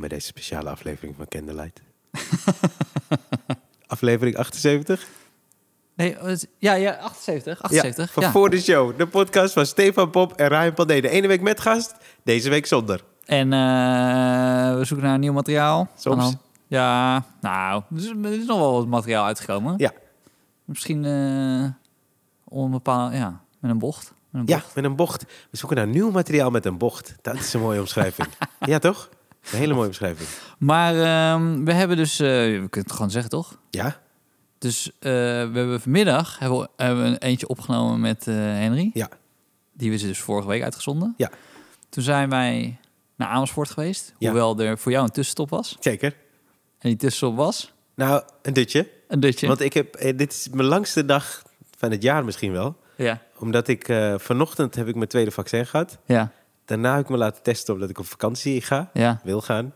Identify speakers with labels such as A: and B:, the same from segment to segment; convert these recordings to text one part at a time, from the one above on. A: bij deze speciale aflevering van Candlelight. aflevering 78?
B: Nee, oh, het- ja, ja, 78.
A: Ja,
B: 78.
A: van
B: Ja,
A: Voor de Show. De podcast van Stefan Pop en Ryan Pandé. De ene week met gast, deze week zonder.
B: En eh, we zoeken naar nieuw materiaal.
A: Soms.
B: Aan de- Ja, nou, er is, er is nog wel wat materiaal uitgekomen.
A: Ja.
B: Misschien eh onbepaald, ja, met een bocht. Met een
A: Ja,
B: bocht.
A: met een bocht. We zoeken naar nieuw materiaal met een bocht. Dat is een mooie omschrijving. ja, toch? Een hele mooie omschrijving.
B: Maar ehm, we hebben dus, eh, we kunnen het gewoon zeggen toch?
A: Ja,
B: Dus eh, we hebben vanmiddag hebben we, hebben we een eentje opgenomen met eh, Henry.
A: ja,
B: Die is dus vorige week uitgezonden.
A: Ja.
B: Toen zijn wij naar Amersfoort geweest.
A: Ja.
B: Hoewel er voor jou een tussenstop was.
A: zeker.
B: En die tussenstop was
A: Nou, een dutje.
B: een dutje.
A: Want ik heb, eh, dit is mijn langste dag van het jaar misschien wel.
B: Ja,
A: Omdat ik eh, vanochtend heb ik mijn tweede vaccin gehad.
B: ja,
A: Daarna heb ik me laten testen omdat ik op vakantie ga.
B: ja.
A: Wil gaan.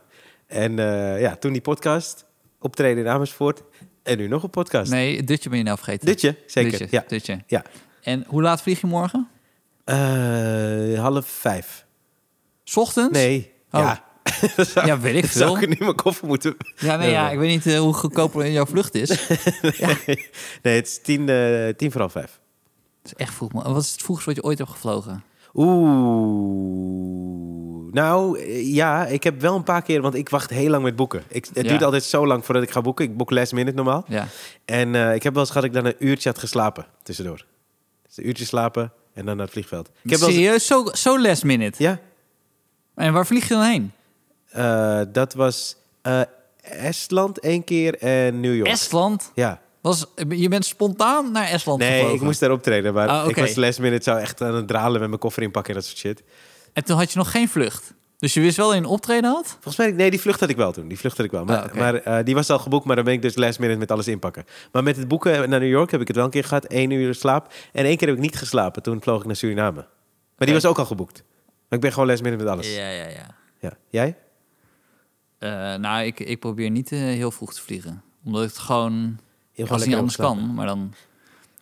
A: En eh, ja, toen die podcast. Optreden in Amersfoort. En nu nog een podcast.
B: Nee, het dutje ben je nou vergeten.
A: Dutje, zeker.
B: Dutje,
A: Ja.
B: dutje.
A: Ja.
B: En hoe laat vlieg je morgen?
A: Eh, half vijf.
B: 's Ochtends?
A: Nee.
B: Oh.
A: Ja. Dat zou-
B: Ja, weet ik
A: dat zou
B: veel.
A: ik nu in mijn koffer moeten...
B: Ja, nee, ja, ik weet niet eh, hoe goedkoop er in jouw vlucht is. Het
A: Nee, het is tien, eh, tien voor half vijf.
B: is echt vroeg, man. Wat is het vroegste wat je ooit hebt gevlogen?
A: Oeh. Nou, eh, ja, ik heb wel een paar keer... Want ik wacht heel lang met boeken. Ik, het
B: Ja.
A: duurt altijd zo lang voordat ik ga boeken. Ik boek last minute normaal.
B: Ja.
A: En eh, ik heb wel eens gehad dat ik dan een uurtje had geslapen tussendoor. Dus een uurtje slapen en dan naar het vliegveld. Ik heb wel eens-
B: Serieus, zo, zo last minute.
A: Ja,
B: En waar vlieg je dan heen?
A: eh, dat was eh, Estland één keer en New York.
B: Estland?
A: Ja.
B: Was, je bent spontaan naar Estland
A: Nee,
B: gevlogen?
A: ik moest daar optreden, maar
B: Ah,
A: ik
B: oké.
A: was last minute zou echt aan het dralen met mijn koffer inpakken en dat soort shit.
B: En toen had je nog geen vlucht. Dus je wist wel dat je een optreden had?
A: Volgens mij, nee, die vlucht had ik wel toen. Die vlucht had ik wel. Maar,
B: Ah, oké.
A: maar eh, die was al geboekt, maar dan ben ik dus last minute met alles inpakken. Maar met het boeken naar New York heb ik het wel een keer gehad. één uur slaap. En één keer heb ik niet geslapen. Toen vloog ik naar Suriname. Maar die
B: Oké.
A: was ook al geboekt. Maar ik ben gewoon last minute met alles.
B: Ja, ja, ja.
A: Ja. Jij?
B: Eh, nou, ik, ik probeer niet eh, heel vroeg te vliegen. Omdat het gewoon
A: Heel
B: als
A: gewoon
B: het niet
A: lekker
B: anders
A: opslapen.
B: kan. Maar dan...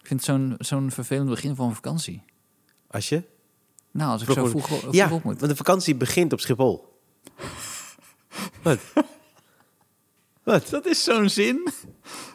B: Ik vind het zo'n zo'n vervelend begin van een vakantie.
A: Als je?
B: Nou, als ik
A: Vroeg
B: zo
A: moet-
B: vroeg, vroeg
A: ja,
B: op moet.
A: want de vakantie begint op Schiphol. Wat? Wat?
B: Dat is zo'n zin.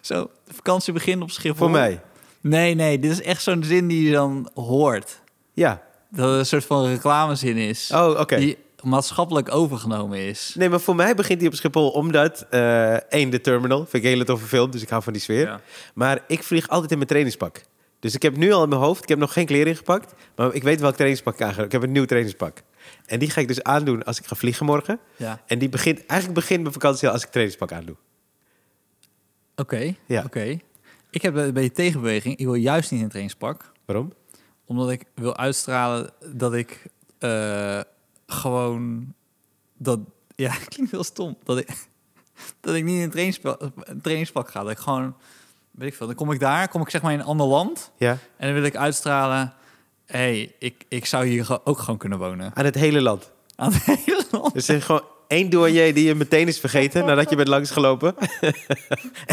B: Zo, de vakantie begint op Schiphol.
A: Voor mij?
B: Nee, nee, dit is echt zo'n zin die je dan hoort.
A: Ja.
B: Dat het een soort van reclamezin is.
A: Oh, oké.
B: Die maatschappelijk overgenomen is.
A: Nee, maar voor mij begint die op Schiphol omdat... eh, één, de terminal. Vind ik een hele toffe film, dus ik hou van die sfeer.
B: Ja.
A: Maar ik vlieg altijd in mijn trainingspak. Dus ik heb nu al in mijn hoofd... Ik heb nog geen kleren ingepakt, maar ik weet welk trainingspak ik aan ga. Ik heb een nieuw trainingspak. En die ga ik dus aandoen als ik ga vliegen morgen.
B: Ja.
A: En die begint... Eigenlijk begint mijn vakantie al als ik trainingspak aandoe.
B: Oké,
A: Ja.
B: oké. Ik heb een beetje tegenbeweging. Ik wil juist niet in een trainingspak.
A: Waarom?
B: Omdat ik wil uitstralen dat ik eh, gewoon... Dat, ja, het klinkt heel stom. Dat ik, dat ik niet in een trainingspak, een trainingspak ga. Dat ik gewoon... Weet ik veel. Dan kom ik daar, kom ik zeg maar in een ander land.
A: Ja.
B: En dan wil ik uitstralen... Hé, hey, ik, ik zou hier ge- ook gewoon kunnen wonen.
A: Aan het hele land.
B: Aan het hele land.
A: Dus er is gewoon één douanier die je meteen is vergeten nadat je bent langsgelopen.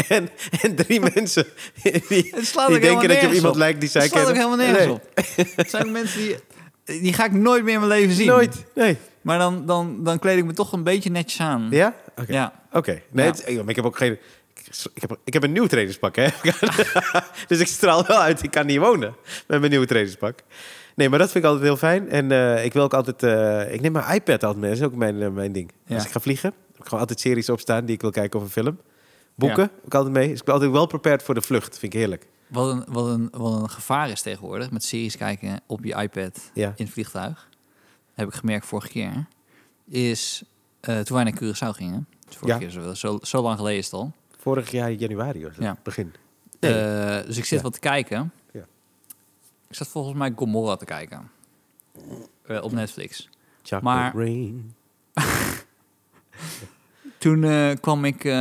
A: en, en drie mensen die, die
B: Het slaat ook helemaal
A: denken dat je op
B: nergens
A: iemand
B: op.
A: lijkt die zij
B: Het slaat ook
A: kennen.
B: helemaal nergens
A: Nee,
B: op. Het zijn ook mensen die... Die ga ik nooit meer in mijn leven zien.
A: Nooit. Nee.
B: Maar dan, dan, dan kleed ik me toch een beetje netjes aan.
A: Ja? Oké.
B: Ja.
A: Oké. Nee,
B: Ja.
A: het is- joh, maar ik heb ook geen... Ik heb, ik heb een nieuw trainingspak, hè? dus ik straal wel uit, ik kan niet wonen met mijn nieuwe trainingspak. Nee, maar dat vind ik altijd heel fijn. En eh, ik wil ook altijd... eh, ik neem mijn iPad altijd mee, dat is ook mijn, eh, mijn ding.
B: Ja.
A: Als ik ga vliegen, heb ik gewoon altijd series opstaan die ik wil kijken of een film. Boeken
B: Ja.
A: heb ik altijd mee. Dus ik ben altijd wel prepared voor de vlucht, vind ik heerlijk.
B: Wat, een, wat, een, wat een gevaar is tegenwoordig met series kijken op je iPad
A: Ja.
B: in het vliegtuig. Heb ik gemerkt vorige keer. Is eh, toen wij naar Curaçao gingen. dus Vorige
A: Ja.
B: keer zo, zo, zo lang geleden is het al.
A: Vorig jaar januari, hoor.
B: Ja.
A: Begin. Nee.
B: Eh, dus ik zit
A: Ja.
B: wat te kijken.
A: Ja.
B: Ik zat volgens mij Gomorra te kijken. Eh, op Netflix.
A: Chocolate
B: Maar-
A: rain.
B: Toen eh, kwam ik eh,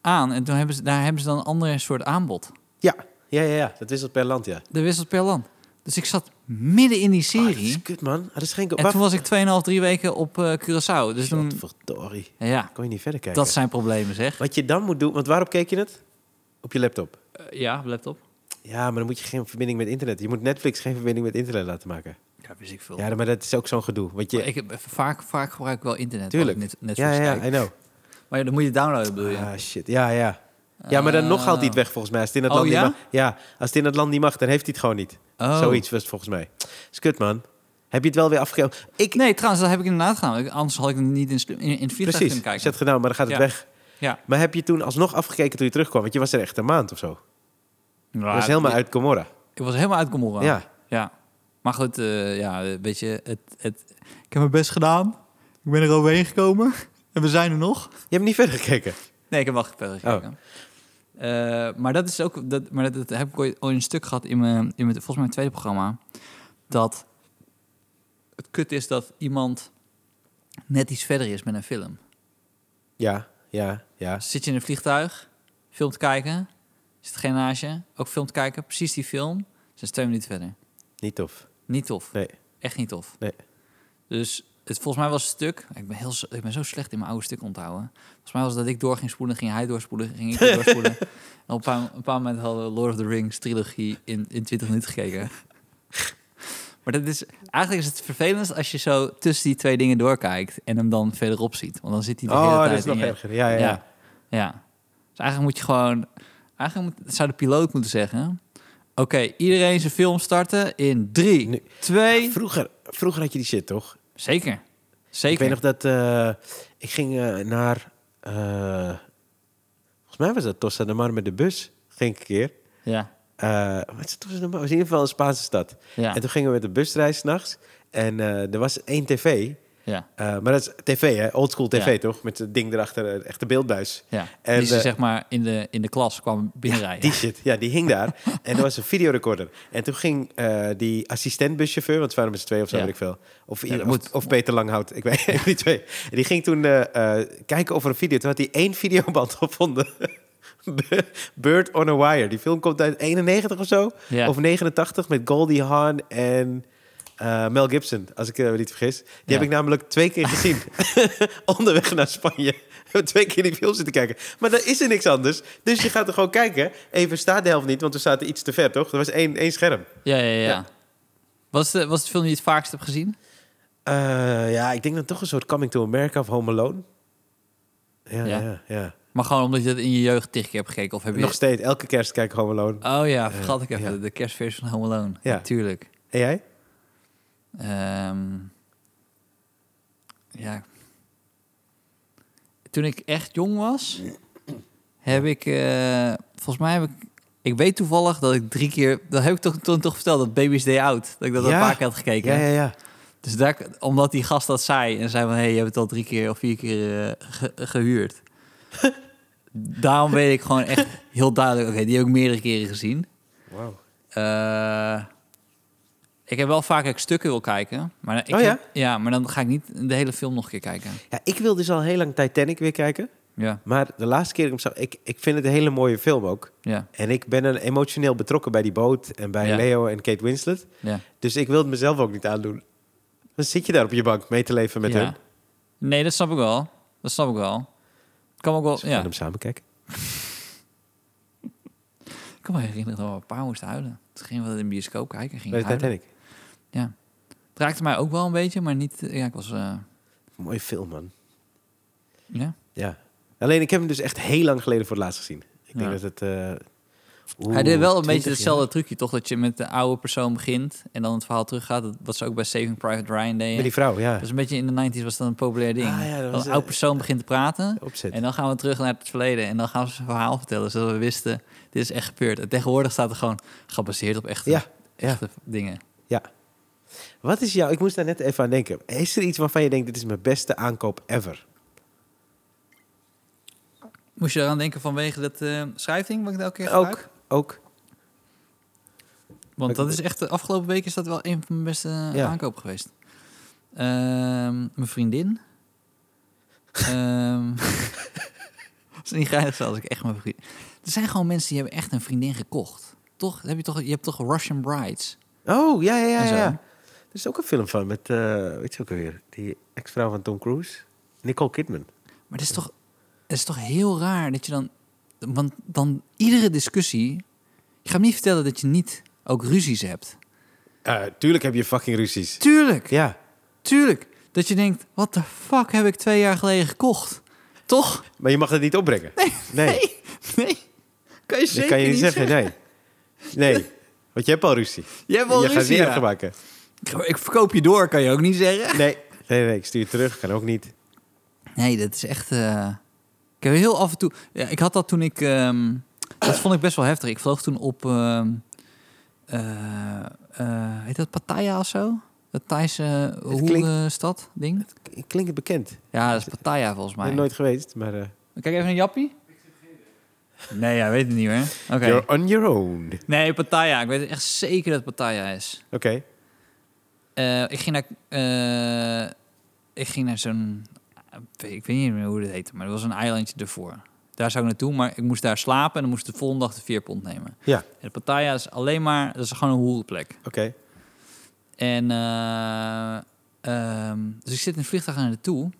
B: aan en toen hebben ze, daar hebben ze dan een ander soort aanbod.
A: Ja. Ja, ja, ja. Dat wisselt per land, ja.
B: De wisselt per land. Dus ik zat midden in die
A: Ah, dat
B: serie.
A: is kut, man. Ah, dat is geen...
B: en toen was ik 2,5, 3 weken op eh, Curaçao. Dus toen,
A: Godverdorie.
B: ja,
A: Kon je niet verder kijken.
B: dat zijn problemen zeg.
A: Wat je dan moet doen, want waarop keek je het? Op je laptop.
B: Eh, ja, laptop.
A: Ja, maar dan moet je geen verbinding met internet. Je moet Netflix geen verbinding met internet laten maken.
B: Ja, wist ik veel.
A: Ja, maar dat is ook zo'n gedoe. Want je,
B: Maar Oh, ik heb, vaak, vaak gebruik ik wel internet.
A: Tuurlijk.
B: Net, net
A: ja, ja, ja, I know.
B: Maar ja, dan moet je downloaden, bedoel je? Ah.
A: Ah, shit. Ja, ja. Ja, maar dan nog haalt hij het weg volgens mij. Als het in het
B: Oh,
A: land
B: ja?
A: niet mag, ja, als het in het land niet mag, dan heeft hij het gewoon niet.
B: Oh.
A: Zoiets was het volgens mij. Is kut, man. Heb je het wel weer afgegeven? Ik,
B: Nee, trouwens, dat heb ik inderdaad gedaan. Ik- Anders had ik het niet in, slim- in, in het vliegtuig
A: precies.
B: kunnen
A: Ik
B: kijken.
A: had het gedaan, maar dan gaat het
B: Ja.
A: weg.
B: Ja.
A: Maar heb je toen alsnog afgekeken toen je terugkwam? Want je was er echt een maand of zo.
B: Ja,
A: Je was helemaal
B: ik-
A: uit Comora.
B: Ik was helemaal uit Gomorra.
A: Ja.
B: Ja. Maar goed, eh, ja, weet je, het, het, ik heb mijn best gedaan. Ik ben er overheen gekomen. En we zijn er nog.
A: Je hebt niet verder gekeken.
B: Nee, ik heb wel verder gekeken. Eh, maar dat is ook, dat, maar dat, dat heb ik ooit, ooit een stuk gehad in mijn, in mijn, volgens mij mijn tweede programma. Dat het kut is dat iemand net iets verder is met een film.
A: Ja, ja, ja.
B: Zit je in een vliegtuig, film te kijken, zit geen naast je, ook film te kijken, precies die film, zijn ze twee minuten verder.
A: Niet tof.
B: Niet tof.
A: Nee.
B: Echt niet tof.
A: Nee.
B: Dus het, volgens mij was het stuk, ik ben, heel, s- ik ben zo slecht in mijn oude stuk onthouden. Volgens mij was het dat ik door ging spoelen, ging hij doorspoelen, ging ik weer doorspoelen. en op een paar, een paar momenten hadden we Lord of the Rings trilogie in, in 20 minuten gekeken. maar dat is, eigenlijk is het vervelend als je zo tussen die twee dingen doorkijkt en hem dan verderop ziet. Want dan zit hij de hele
A: Oh,
B: tijd
A: dat is
B: in
A: nog
B: je-
A: erger. Ja, ja, ja.
B: ja. ja. Dus eigenlijk moet je gewoon... Eigenlijk moet, zou de piloot moeten zeggen... Oké, iedereen zijn film starten in drie,
A: Nu-
B: twee...
A: Vroeger, vroeger had je die shit, toch?
B: Zeker. Zeker.
A: Ik weet nog dat eh, ik ging eh, naar. eh, volgens mij was dat Tossa de Mar met de bus. Ging ik een keer.
B: Ja.
A: Eh, wat is Tossa de Mar? was in ieder geval een Spaanse stad.
B: Ja.
A: En toen gingen we met de busreis s'nachts. En eh, er was één tv.
B: Ja.
A: eh, maar dat is tv, hè? Oldschool tv,
B: Ja.
A: toch? Met het ding erachter, eh, echte beeldbuis.
B: ja.
A: En,
B: die ze
A: eh,
B: zeg maar in de, in de klas kwam binnenrijden.
A: Die shit, ja, die hing daar. en er was een videorecorder. En toen ging eh, die assistentbuschauffeur, want het waren met z'n twee of zo,
B: Ja.
A: weet ik veel. Of,
B: dat
A: of,
B: moet.
A: of Peter Langhout, ik weet niet, die twee. En die ging toen eh, eh, kijken over een video. Toen had hij één videoband gevonden. Be- Bird on a Wire. Die film komt uit 91 of zo.
B: Ja.
A: Of 89 met Goldie Hawn en eh, Mel Gibson, als ik eh, me niet vergis. Die
B: Ja.
A: heb ik namelijk twee keer gezien. Onderweg naar Spanje. twee keer die film zitten kijken. Maar dan is er niks anders. Dus je gaat er gewoon kijken. Even staat de helft niet, want we zaten iets te ver, toch? Er was één, één scherm.
B: Ja, ja, ja.
A: Ja.
B: Was, de, was de film die je het vaakst hebt gezien?
A: Eh, ja, ik denk dan toch een soort Coming to America of Home Alone. Ja,
B: Ja.
A: ja, ja.
B: Maar gewoon omdat je dat in je jeugd tegen keer hebt gekeken? Of heb je...
A: Nog steeds, elke kerst kijk ik Home Alone.
B: Oh ja, vergat ik even.
A: ja.
B: De kerstversie van Home Alone.
A: Ja.
B: Natuurlijk.
A: En jij?
B: Ehm, ja. Toen ik echt jong was, heb ik, eh, volgens mij heb ik, ik weet toevallig dat ik drie keer, dat heb ik toch, toen toch verteld, dat Baby's Day Out, dat ik dat al een
A: Ja.
B: paar keer had gekeken.
A: Ja, ja, ja.
B: Dus daar, omdat die gast dat zei en zei van, hé, hey, je hebt het al drie keer of vier keer eh, ge- gehuurd. Daarom weet ik gewoon echt heel duidelijk, oké, die heb ik meerdere keren gezien.
A: Wauw.
B: Eh, ik heb wel vaak dat ik stukken wil kijken. Maar ik
A: Oh ja?
B: heb- ja, maar dan ga ik niet de hele film nog een keer kijken.
A: Ja, ik wil dus al heel lang Titanic weer kijken.
B: Ja,
A: Maar de laatste keer dat ik hem zag, ik, ik vind het een hele mooie film ook.
B: ja,
A: En ik ben een emotioneel betrokken bij die boot en bij
B: Ja.
A: Leo en Kate Winslet.
B: ja.
A: Dus ik wil het mezelf ook niet aandoen. Dan zit je daar op je bank mee te leven met
B: ja.
A: hem.
B: Nee, dat snap ik wel. Dat snap ik wel. Kan me ook
A: Ze gaan
B: wel, Oh, ja.
A: hem samen kijken.
B: Ik kan me herinneren dat we een paar moesten huilen. Toen gingen we dat in de bioscoop kijken. Ging
A: Bij de
B: huilen.
A: Titanic.
B: Ja. Het raakte mij ook wel een beetje, maar niet... Ja, ik was... eh,
A: Mooie film, man.
B: ja.
A: Ja. Alleen, ik heb hem dus echt heel lang geleden voor het laatst gezien. Ik denk
B: Ja.
A: dat het... eh, oeh,
B: Hij deed wel een beetje
A: 20
B: hetzelfde
A: jaar.
B: trucje, toch? Dat je met de oude persoon begint en dan het verhaal teruggaat. Dat- Wat ze ook bij Saving Private Ryan deden.
A: Met die vrouw, ja.
B: Dat is Dus een beetje in de 90s was dat een populair ding.
A: Ah, ja, dat
B: dat
A: was,
B: een
A: eh, Oh,
B: oud persoon begint te praten.
A: Opzet.
B: En dan gaan we terug naar het verleden. En dan gaan ze zijn verhaal vertellen. Zodat we wisten, dit is echt gebeurd. En tegenwoordig staat er gewoon gebaseerd op echte,
A: Ja, ja.
B: echte dingen.
A: Ja. Wat is jouw... Ik moest daar net even aan denken. Is er iets waarvan je denkt, dit is mijn beste aankoop ever?
B: Moest je eraan denken vanwege dat eh schrijfding wat ik elke keer gebruik?
A: Ook, ook.
B: Want dat is echt, de afgelopen week is dat wel een van mijn beste eh,
A: Ja.
B: aankopen geweest. Ehm, mijn vriendin. Ehm, dat is niet geinig als ik echt mijn vriendin... Er zijn gewoon mensen die hebben echt een vriendin gekocht. Toch? Heb je, toch, je hebt toch Russian Brides?
A: Oh, ja, ja, ja.
B: En zo.
A: ja. Er is ook een film van met, eh weet je ook alweer, die ex-vrouw van Tom Cruise. Nicole Kidman.
B: Maar het is toch, het is toch heel raar dat je dan... Want dan iedere discussie... Je gaat me niet vertellen dat je niet ook ruzies hebt.
A: Eh, tuurlijk heb je fucking ruzies.
B: Tuurlijk,
A: Ja.
B: tuurlijk. Dat je denkt, wat de fuck heb ik twee jaar geleden gekocht? Toch?
A: Maar je mag het niet opbrengen. Nee. Nee.
B: Nee, nee. Kan je
A: Dat
B: zeker
A: kan je niet zeggen, nee. Nee. Want je hebt al ruzie.
B: Je hebt wel
A: je gaat
B: ruzie,
A: niet
B: ja.
A: erger maken.
B: Ik verkoop je door, kan je ook niet zeggen.
A: Nee. Nee, nee, ik stuur terug. Kan ook niet.
B: Nee, dat is echt... eh, Ik heb heel af en toe... Ja, ik had dat toen ik... ehm, Dat vond ik best wel heftig. Ik vloog toen op... ehm, eh, eh, heet dat Pattaya of zo? Dat Thaise
A: Het
B: uh, stad ding?
A: K- Klinkt het bekend? Ik
B: Ja, dat is Pattaya volgens mij.
A: ben nooit geweest, maar... eh,
B: Kijk even een jappie. Nee, ja, weet het niet hoor. Oké.
A: You're on your own. Oké.
B: Nee, Pattaya. Ik weet echt zeker dat het Pattaya is. Eh, ik ging naar, eh, ik ging naar zo'n, eh, ik weet niet meer hoe dat heette, maar er was een eilandje ervoor. Daar zou ik naartoe, maar ik moest daar slapen en dan moest ik de volgende dag de veerpont nemen.
A: Ja.
B: En de Pattaya is alleen maar, dat is gewoon een hoerenplek.
A: Oké.
B: En eh, ehm, dus ik zit in een vliegtuig naar naartoe,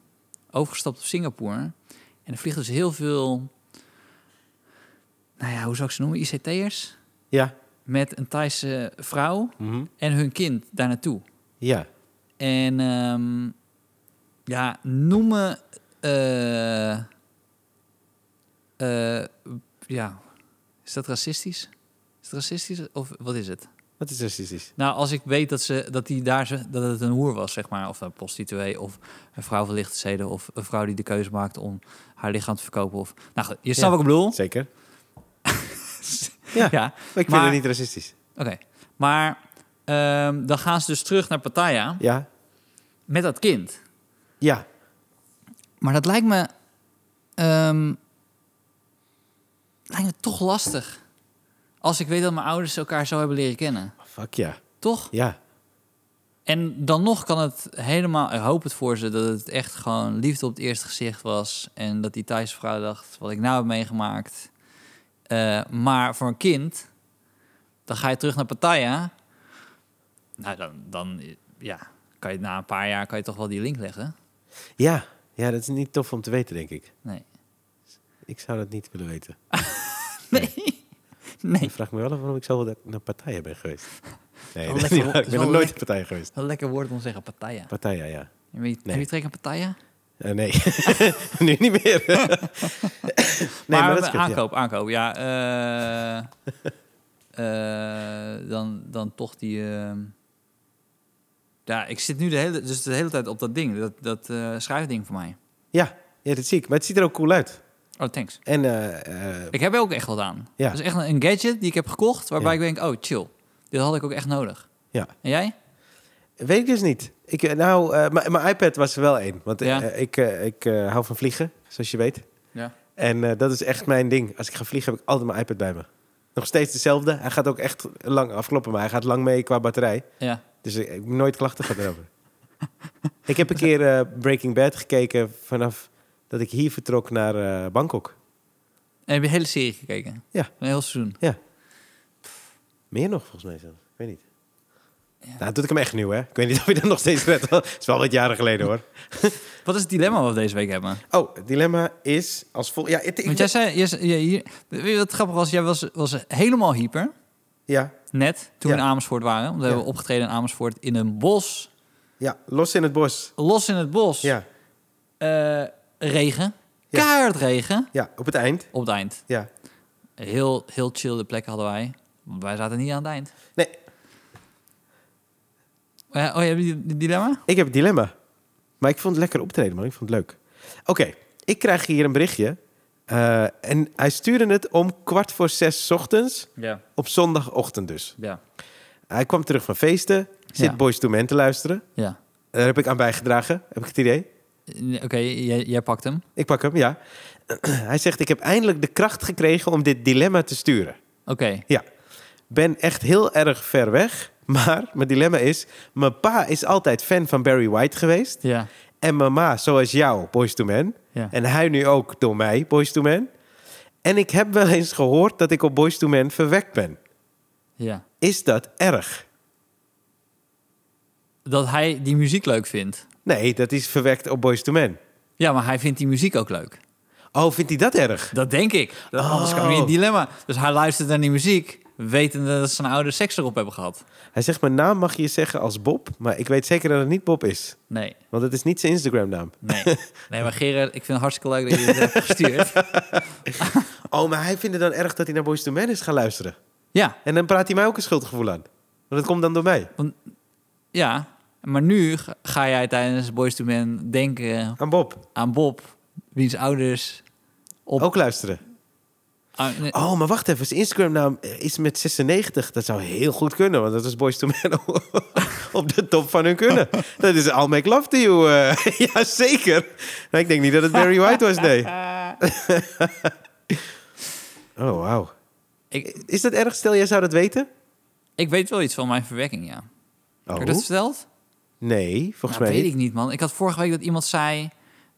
B: overgestapt op Singapore. En er vliegen dus heel veel, nou ja, hoe zou ik ze noemen, ICT'ers
A: Ja.
B: met een Thaise vrouw
A: Mhm.
B: en hun kind daar naartoe.
A: Ja.
B: En ehm, ja, noemen. eh eh, ja, is dat racistisch? Is het racistisch of wat is het?
A: Wat is racistisch?
B: Nou, als ik weet dat, ze, dat, die daar, ze- dat het een hoer was, zeg maar, of een prostituee, of een vrouw van lichte zeden, of een vrouw die de keuze maakt om haar lichaam te verkopen. Of, nou, goed, je snapt
A: Ja.
B: wat ik bedoel.
A: Zeker. ja.
B: Ja,
A: Maar ik vind
B: Maar-
A: het niet racistisch.
B: oké. Maar ehm, dan gaan ze dus terug naar Pattaya
A: Ja.
B: met dat kind.
A: Ja.
B: Maar dat lijkt me. ehm, lijkt me toch lastig. Als ik weet dat mijn ouders elkaar zo hebben leren kennen.
A: Fuck ja.
B: Toch?
A: Ja.
B: En dan nog kan het helemaal. Ik hoop het voor ze dat het echt gewoon liefde op het eerste gezicht was. En dat die Thaise vrouw dacht: wat ik nou heb meegemaakt. Eh, maar voor een kind. dan ga je terug naar Pattaya. Nou, dan. dan ja, kan je na een paar jaar kan je toch wel die link leggen.
A: Ja. Ja, dat is niet tof om te weten, denk ik.
B: Nee.
A: Ik zou dat niet willen weten.
B: Nee. Nee.
A: Ik vraag me wel af waarom ik zoveel naar partijen ben geweest. Nee, dat
B: Wel
A: is
B: lekker-
A: niet waar. Ik
B: is wel
A: ben nog nooit
B: lekker.
A: in partijen geweest.
B: Wel lekker woord om te zeggen, Pattaya.
A: Partijen, ja.
B: Heb je,
A: Nee.
B: heb je trek aan Pattaya?
A: Eh, nee, nu niet meer. nee, maar, dat is goed, ja.
B: aankoop, aankoop. Ja, eh, eh, dan, dan toch die... eh, ja, ik zit nu de hele, dus de hele tijd op dat ding, dat, dat eh, schuifding voor mij.
A: ja. Ja, dat zie ik. Maar het ziet er ook cool uit.
B: Oh, thanks.
A: En eh, eh,
B: Ik heb er ook echt wat aan.
A: Ja.
B: Dat is echt een een gadget die ik heb gekocht, waarbij
A: Ja.
B: ik denk, oh, chill. Dit had ik ook echt nodig.
A: Ja.
B: En jij?
A: weet ik dus niet. Ik, eh, nou, eh, mijn- mijn iPad was er wel één. Want eh,
B: Ja.
A: eh, ik, eh, ik eh, hou van vliegen, zoals je weet.
B: Ja.
A: En eh, dat is echt mijn ding. Als ik ga vliegen, heb ik altijd mijn iPad bij me. Nog steeds dezelfde. Hij gaat ook echt lang afkloppen, maar hij gaat lang mee qua batterij.
B: Ja.
A: Dus ik, ik heb nooit klachten gehad erover. ik heb een keer eh, Breaking Bad gekeken vanaf dat ik hier vertrok naar eh, Bangkok.
B: En heb je de hele serie gekeken?
A: Ja.
B: Een heel seizoen.
A: Meer nog, volgens mij zelf. Ik weet niet.
B: Ja.
A: Nou, dat doet ik hem echt nieuw, hè? Ik weet niet of je dat nog steeds redt. Het is wel wat jaren geleden, hoor.
B: Wat is het dilemma wat we deze week hebben?
A: Oh, het dilemma is als volgt... Ja, het- ik-
B: Want jij zei, jij zei- jij hier, weet je wat grappig was? Jij was, was helemaal hyper,
A: ja,
B: net, toen we
A: Ja.
B: in Amersfoort waren. Want we
A: Ja.
B: hebben opgetreden in Amersfoort in een bos,
A: ja, los in het bos.
B: los in het bos.
A: Ja,
B: Eh, regen,
A: Ja.
B: kaart regen,
A: ja, op het eind.
B: op het eind.
A: Ja.
B: Heel, heel chill de plek hadden wij, want wij zaten niet aan het eind.
A: Nee,
B: Eh, oh, je hebt die die dilemma?
A: ik heb het dilemma. Maar ik vond het lekker optreden, man. Ik vond het leuk. Oké, ik krijg hier een berichtje. eh, en hij stuurde het om kwart voor zes 's ochtends.
B: Ja.
A: Op zondagochtend dus.
B: Ja.
A: Hij kwam terug van feesten. Zit
B: Ja.
A: Boys to Men te luisteren.
B: ja.
A: Daar heb ik aan bijgedragen. Heb ik het idee.
B: Eh, Oké, jij, jij pakt hem.
A: Ik pak hem, ja. Hij zegt, ik heb eindelijk de kracht gekregen om dit dilemma te sturen.
B: Oké.
A: Ben echt heel erg ver weg. Maar mijn dilemma is, mijn pa is altijd fan van Barry White geweest.
B: Ja.
A: En mijn ma, zoals jou, Boys to Men.
B: Ja.
A: En hij nu ook door mij, Boys to Men. En ik heb wel eens gehoord dat ik op Boys to Men verwekt ben.
B: ja.
A: Is dat erg?
B: Dat hij die muziek leuk vindt.
A: Nee, dat is verwekt op Boys to Men.
B: Ja, maar hij vindt die muziek ook leuk.
A: Oh, vindt hij dat erg?
B: Dat denk ik. Dat, Anders kan ik
A: Oh.
B: niet in het dilemma. Dus hij luistert naar die muziek. wetende dat zijn ouders seks erop hebben gehad.
A: Hij zegt, mijn naam mag je zeggen als Bob, maar ik weet zeker dat het niet Bob is.
B: Nee,
A: Want het is niet zijn Instagram-naam.
B: nee. Nee, maar Gerard, ik vind het hartstikke leuk dat je dit hebt gestuurd.
A: Oh, maar hij vindt het dan erg dat hij naar Boys to Men is gaan luisteren.
B: Ja,
A: En dan praat hij mij ook een schuldgevoel aan. Want dat komt dan door mij.
B: ja. Maar nu ga- ga jij tijdens Boys to Men denken
A: Aan Bob.
B: aan Bob, wiens ouders... Op-
A: Ook luisteren.
B: Ah, nee,
A: Oh, maar wacht even. Zijn Instagram-naam is eh, met 96. Dat zou heel goed kunnen, want dat is Boys to Men op de top van hun kunnen. Dat is I'll Make Love to You. eh. Jazeker. Nou, ik denk niet dat het Barry White was, nee. oh, wauw.
B: ik,
A: Is dat erg? Stel, jij zou dat weten?
B: ik weet wel iets van mijn verwekking, ja. Heb
A: Oh,
B: ik dat verteld?
A: nee, volgens
B: Nou,
A: mij
B: weet
A: niet.
B: ik niet, man. Ik had vorige week dat iemand zei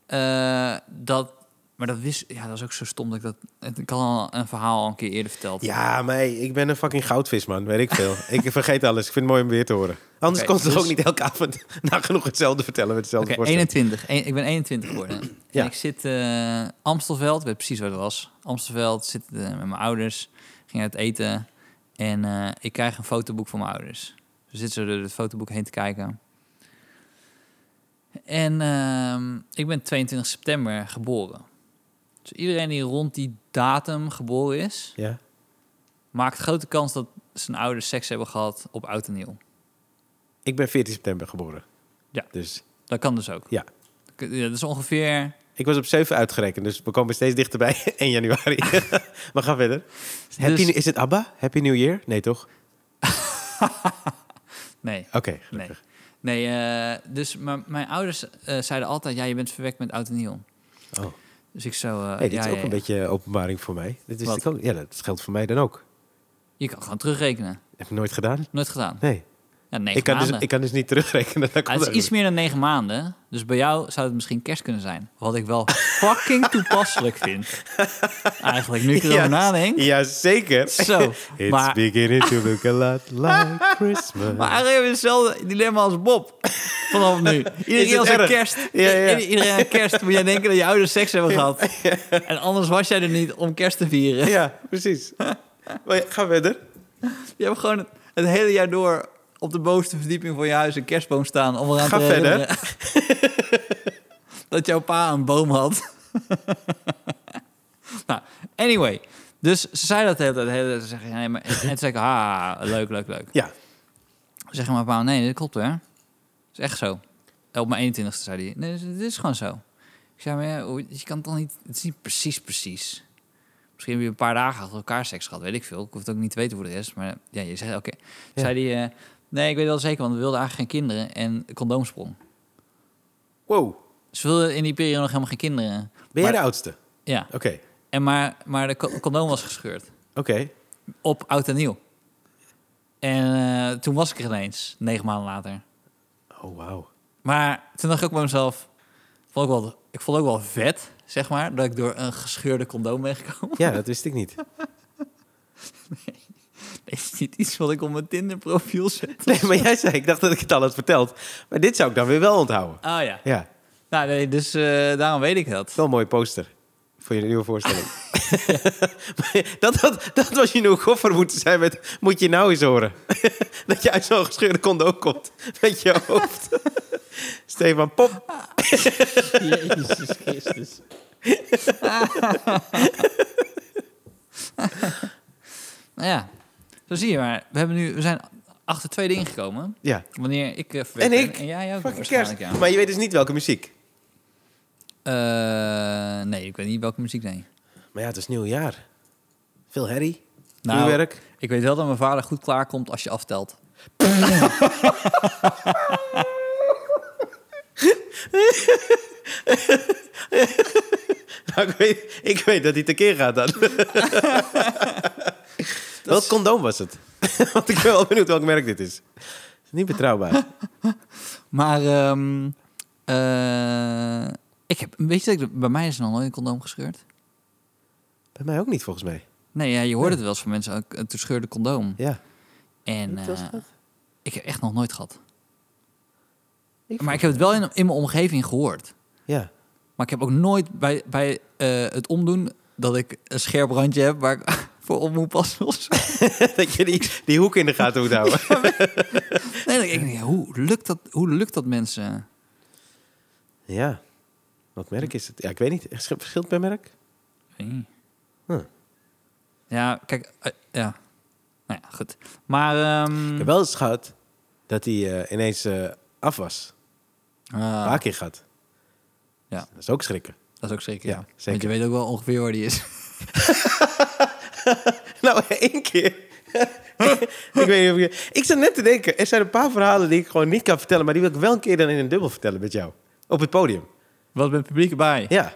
B: eh, dat... Maar dat wist... Ja, dat is ook zo stom dat ik dat... het- Ik had al een verhaal al een keer eerder verteld.
A: Ja, maar hey, ik ben een fucking goudvis, man. Weet ik veel. ik vergeet alles. Ik vind het mooi om weer te horen. Anders
B: Oké,
A: kon ze
B: dus-
A: ook niet elke avond nagenoeg hetzelfde vertellen met
B: Oké,
A: hetzelfde voorstel.
B: 21. Eén- ik ben 21 geworden.
A: Ja.
B: En ik zit eh Amstelveld, weet precies waar dat was. Amstelveld, zit eh, met mijn ouders, ging uit eten. En eh, ik krijg een fotoboek van mijn ouders. Dus zitten ze door het fotoboek heen te kijken. En ehm, ik ben 22 september geboren. Dus iedereen die rond die datum geboren is,
A: Ja.
B: maakt grote kans dat zijn ouders seks hebben gehad op oud en nieuw.
A: Ik ben 14 september geboren.
B: Ja.
A: Dus
B: Dat kan dus ook.
A: Ja.
B: Ja, Dat is ongeveer
A: ik was op 7 uitgerekend, dus we komen steeds dichterbij. 1 januari. we gaan verder. Happy,
B: Dus-
A: is het ABBA? Happy New Year? Nee, toch?
B: Nee,
A: Oké,
B: nee.
A: gelukkig.
B: Nee, eh, dus maar mijn ouders eh, zeiden altijd... ja, je bent verwekt met oud en nieuw.
A: Oh.
B: Dus ik zo... eh,
A: Hey, dit
B: ja,
A: is ook
B: ja,
A: een
B: ja.
A: beetje openbaring voor mij. Dit is
B: Wat?
A: ik ook, ja, dat geldt voor mij dan ook.
B: Je kan gewoon terugrekenen.
A: Heb ik nooit gedaan?
B: Nooit gedaan.
A: Nee.
B: Ja, negen
A: Ik kan, dus,
B: maanden.
A: ik kan dus niet terugrekenen. Dat
B: Ah,
A: komt
B: het
A: ook
B: is iets meer dan negen maanden. Dus bij jou zou het misschien kerst kunnen zijn. Wat ik wel fucking toepasselijk vind. Eigenlijk, nu ik erover
A: Ja.
B: nadenk.
A: Ja, zeker.
B: Zo.
A: It's
B: maar,
A: beginning to look a lot like Christmas.
B: maar eigenlijk hebben we hetzelfde dilemma als Bob. Vanaf nu. Iedereen
A: Is het
B: als een
A: erg?
B: kerst.
A: Ja, ja.
B: i- Iedereen aan kerst moet jij denken dat je ouders seks hebben gehad. En anders was jij er niet om kerst te vieren.
A: Ja, precies. Maar ja, ga verder.
B: Je hebt gewoon het, het hele jaar door op de bovenste verdieping van je huis een kerstboom staan. Om eraan
A: Ga
B: te
A: verder.
B: herinneren dat jouw pa een boom had. nou, anyway. Dus ze zei dat de hele tijd. De hele tijd. Ze zeggen, nee, maar, en toen zei ik, ah, leuk, leuk, leuk.
A: Ja.
B: Zeg maar, pa, nee, dat klopt hè. Dat is echt zo. En Op mijn 21ste zei hij, nee, dit is- dit is gewoon zo. Ik zei, maar ja, hoe- je kan het toch niet, het is niet precies precies. Misschien heb je een paar dagen achter elkaar seks gehad, weet ik veel. Ik hoef het ook niet te weten hoe de rest, maar ja, je zegt, oké.
A: Ja.
B: Zei hij, eh, nee, ik weet wel zeker, want we wilden eigenlijk geen kinderen en condoomsprong.
A: Wow.
B: Ze wilden in die periode nog helemaal geen kinderen.
A: Ben jij
B: Maar-
A: de oudste?
B: Ja,
A: Oké.
B: en maar, maar de co- condoom was gescheurd.
A: Oké.
B: Op oud en nieuw. En eh, toen was ik er ineens, negen maanden later.
A: Oh, wauw.
B: Maar toen dacht ik ook bij mezelf, vond ik, wel, ik vond het ook wel vet, zeg maar, dat ik door een gescheurde condoom ben gekomen.
A: Ja, dat wist ik niet.
B: Dit is niet iets wat ik op mijn Tinder profiel zet.
A: Nee, maar jij zei, ik dacht dat ik het al had verteld. Maar dit zou ik dan weer wel onthouden.
B: Oh ja.
A: Ah, Ja, het
B: Nou nee, dus eh, daarom weet ik dat.
A: is wel een mooie poster. Voor je nieuwe voorstelling. Maar dat, dat, dat was je nieuwe koffer moeten zijn met... Moet je nou eens horen. dat je uit zo'n gescheurde condoom komt. Met je hoofd. Stefan Pop.
B: Jezus Christus. nou ja, zo zie je maar. We, hebben nu, we zijn achter twee dingen gekomen.
A: Ja.
B: Wanneer ik eh, verwekt
A: En
B: ben
A: ik.
B: En jij ook
A: Fucking
B: waarschijnlijk,
A: kerst.
B: ja.
A: Maar je weet dus niet welke muziek.
B: Eh, nee, ik weet niet welke muziek, nee.
A: Maar ja, het is nieuwjaar. Veel herrie.
B: Nou,
A: vuurwerk.
B: Ik weet wel dat mijn vader goed klaarkomt als je aftelt.
A: Nou, ik, weet, ik weet dat hij tekeer gaat dan. Welk condoom was het? Want ik ben wel benieuwd welk merk dit is. Niet betrouwbaar.
B: Maar ehm, eh, ik heb, weet je, dat ik- bij mij is er nog nooit een condoom gescheurd.
A: Bij mij ook niet, volgens mij.
B: Nee, ja, je hoorde het wel eens van mensen, ook, eh, toen scheurde condoom.
A: Ja.
B: En
A: Wat was
B: eh,
A: dat?
B: ik heb echt nog nooit gehad.
A: Ik
B: Maar ik heb het wel in, in mijn omgeving gehoord.
A: Ja.
B: Maar ik heb ook nooit bij, bij eh, het omdoen dat ik een scherp randje heb waar ik voor omroep pas of zo.
A: dat je die, die hoek in de gaten moet houden.
B: Nee, dan denk ik, ja, hoe, lukt dat, hoe lukt dat mensen?
A: Ja. Wat merk is het? Ja, ik weet niet. Versch- Verschilt per merk?
B: Weet niet.
A: Huh.
B: Ja, kijk, eh, ja. Nou ja, goed. Maar,
A: Ik
B: ehm
A: heb wel eens gehad dat hij eh, ineens eh, af was. Een
B: ah,
A: paar keer gehad.
B: Ja.
A: Dat is ook schrikken.
B: dat is ook zeker.
A: Ja,
B: Ja, Want
A: zeker.
B: je weet ook wel ongeveer waar die is.
A: Nou, één keer. ik weet niet of ik... Ik zat net te denken, er zijn een paar verhalen die ik gewoon niet kan vertellen... maar die wil ik wel een keer dan in een dubbel vertellen met jou. Op het podium.
B: Wat met publiek erbij?
A: Ja.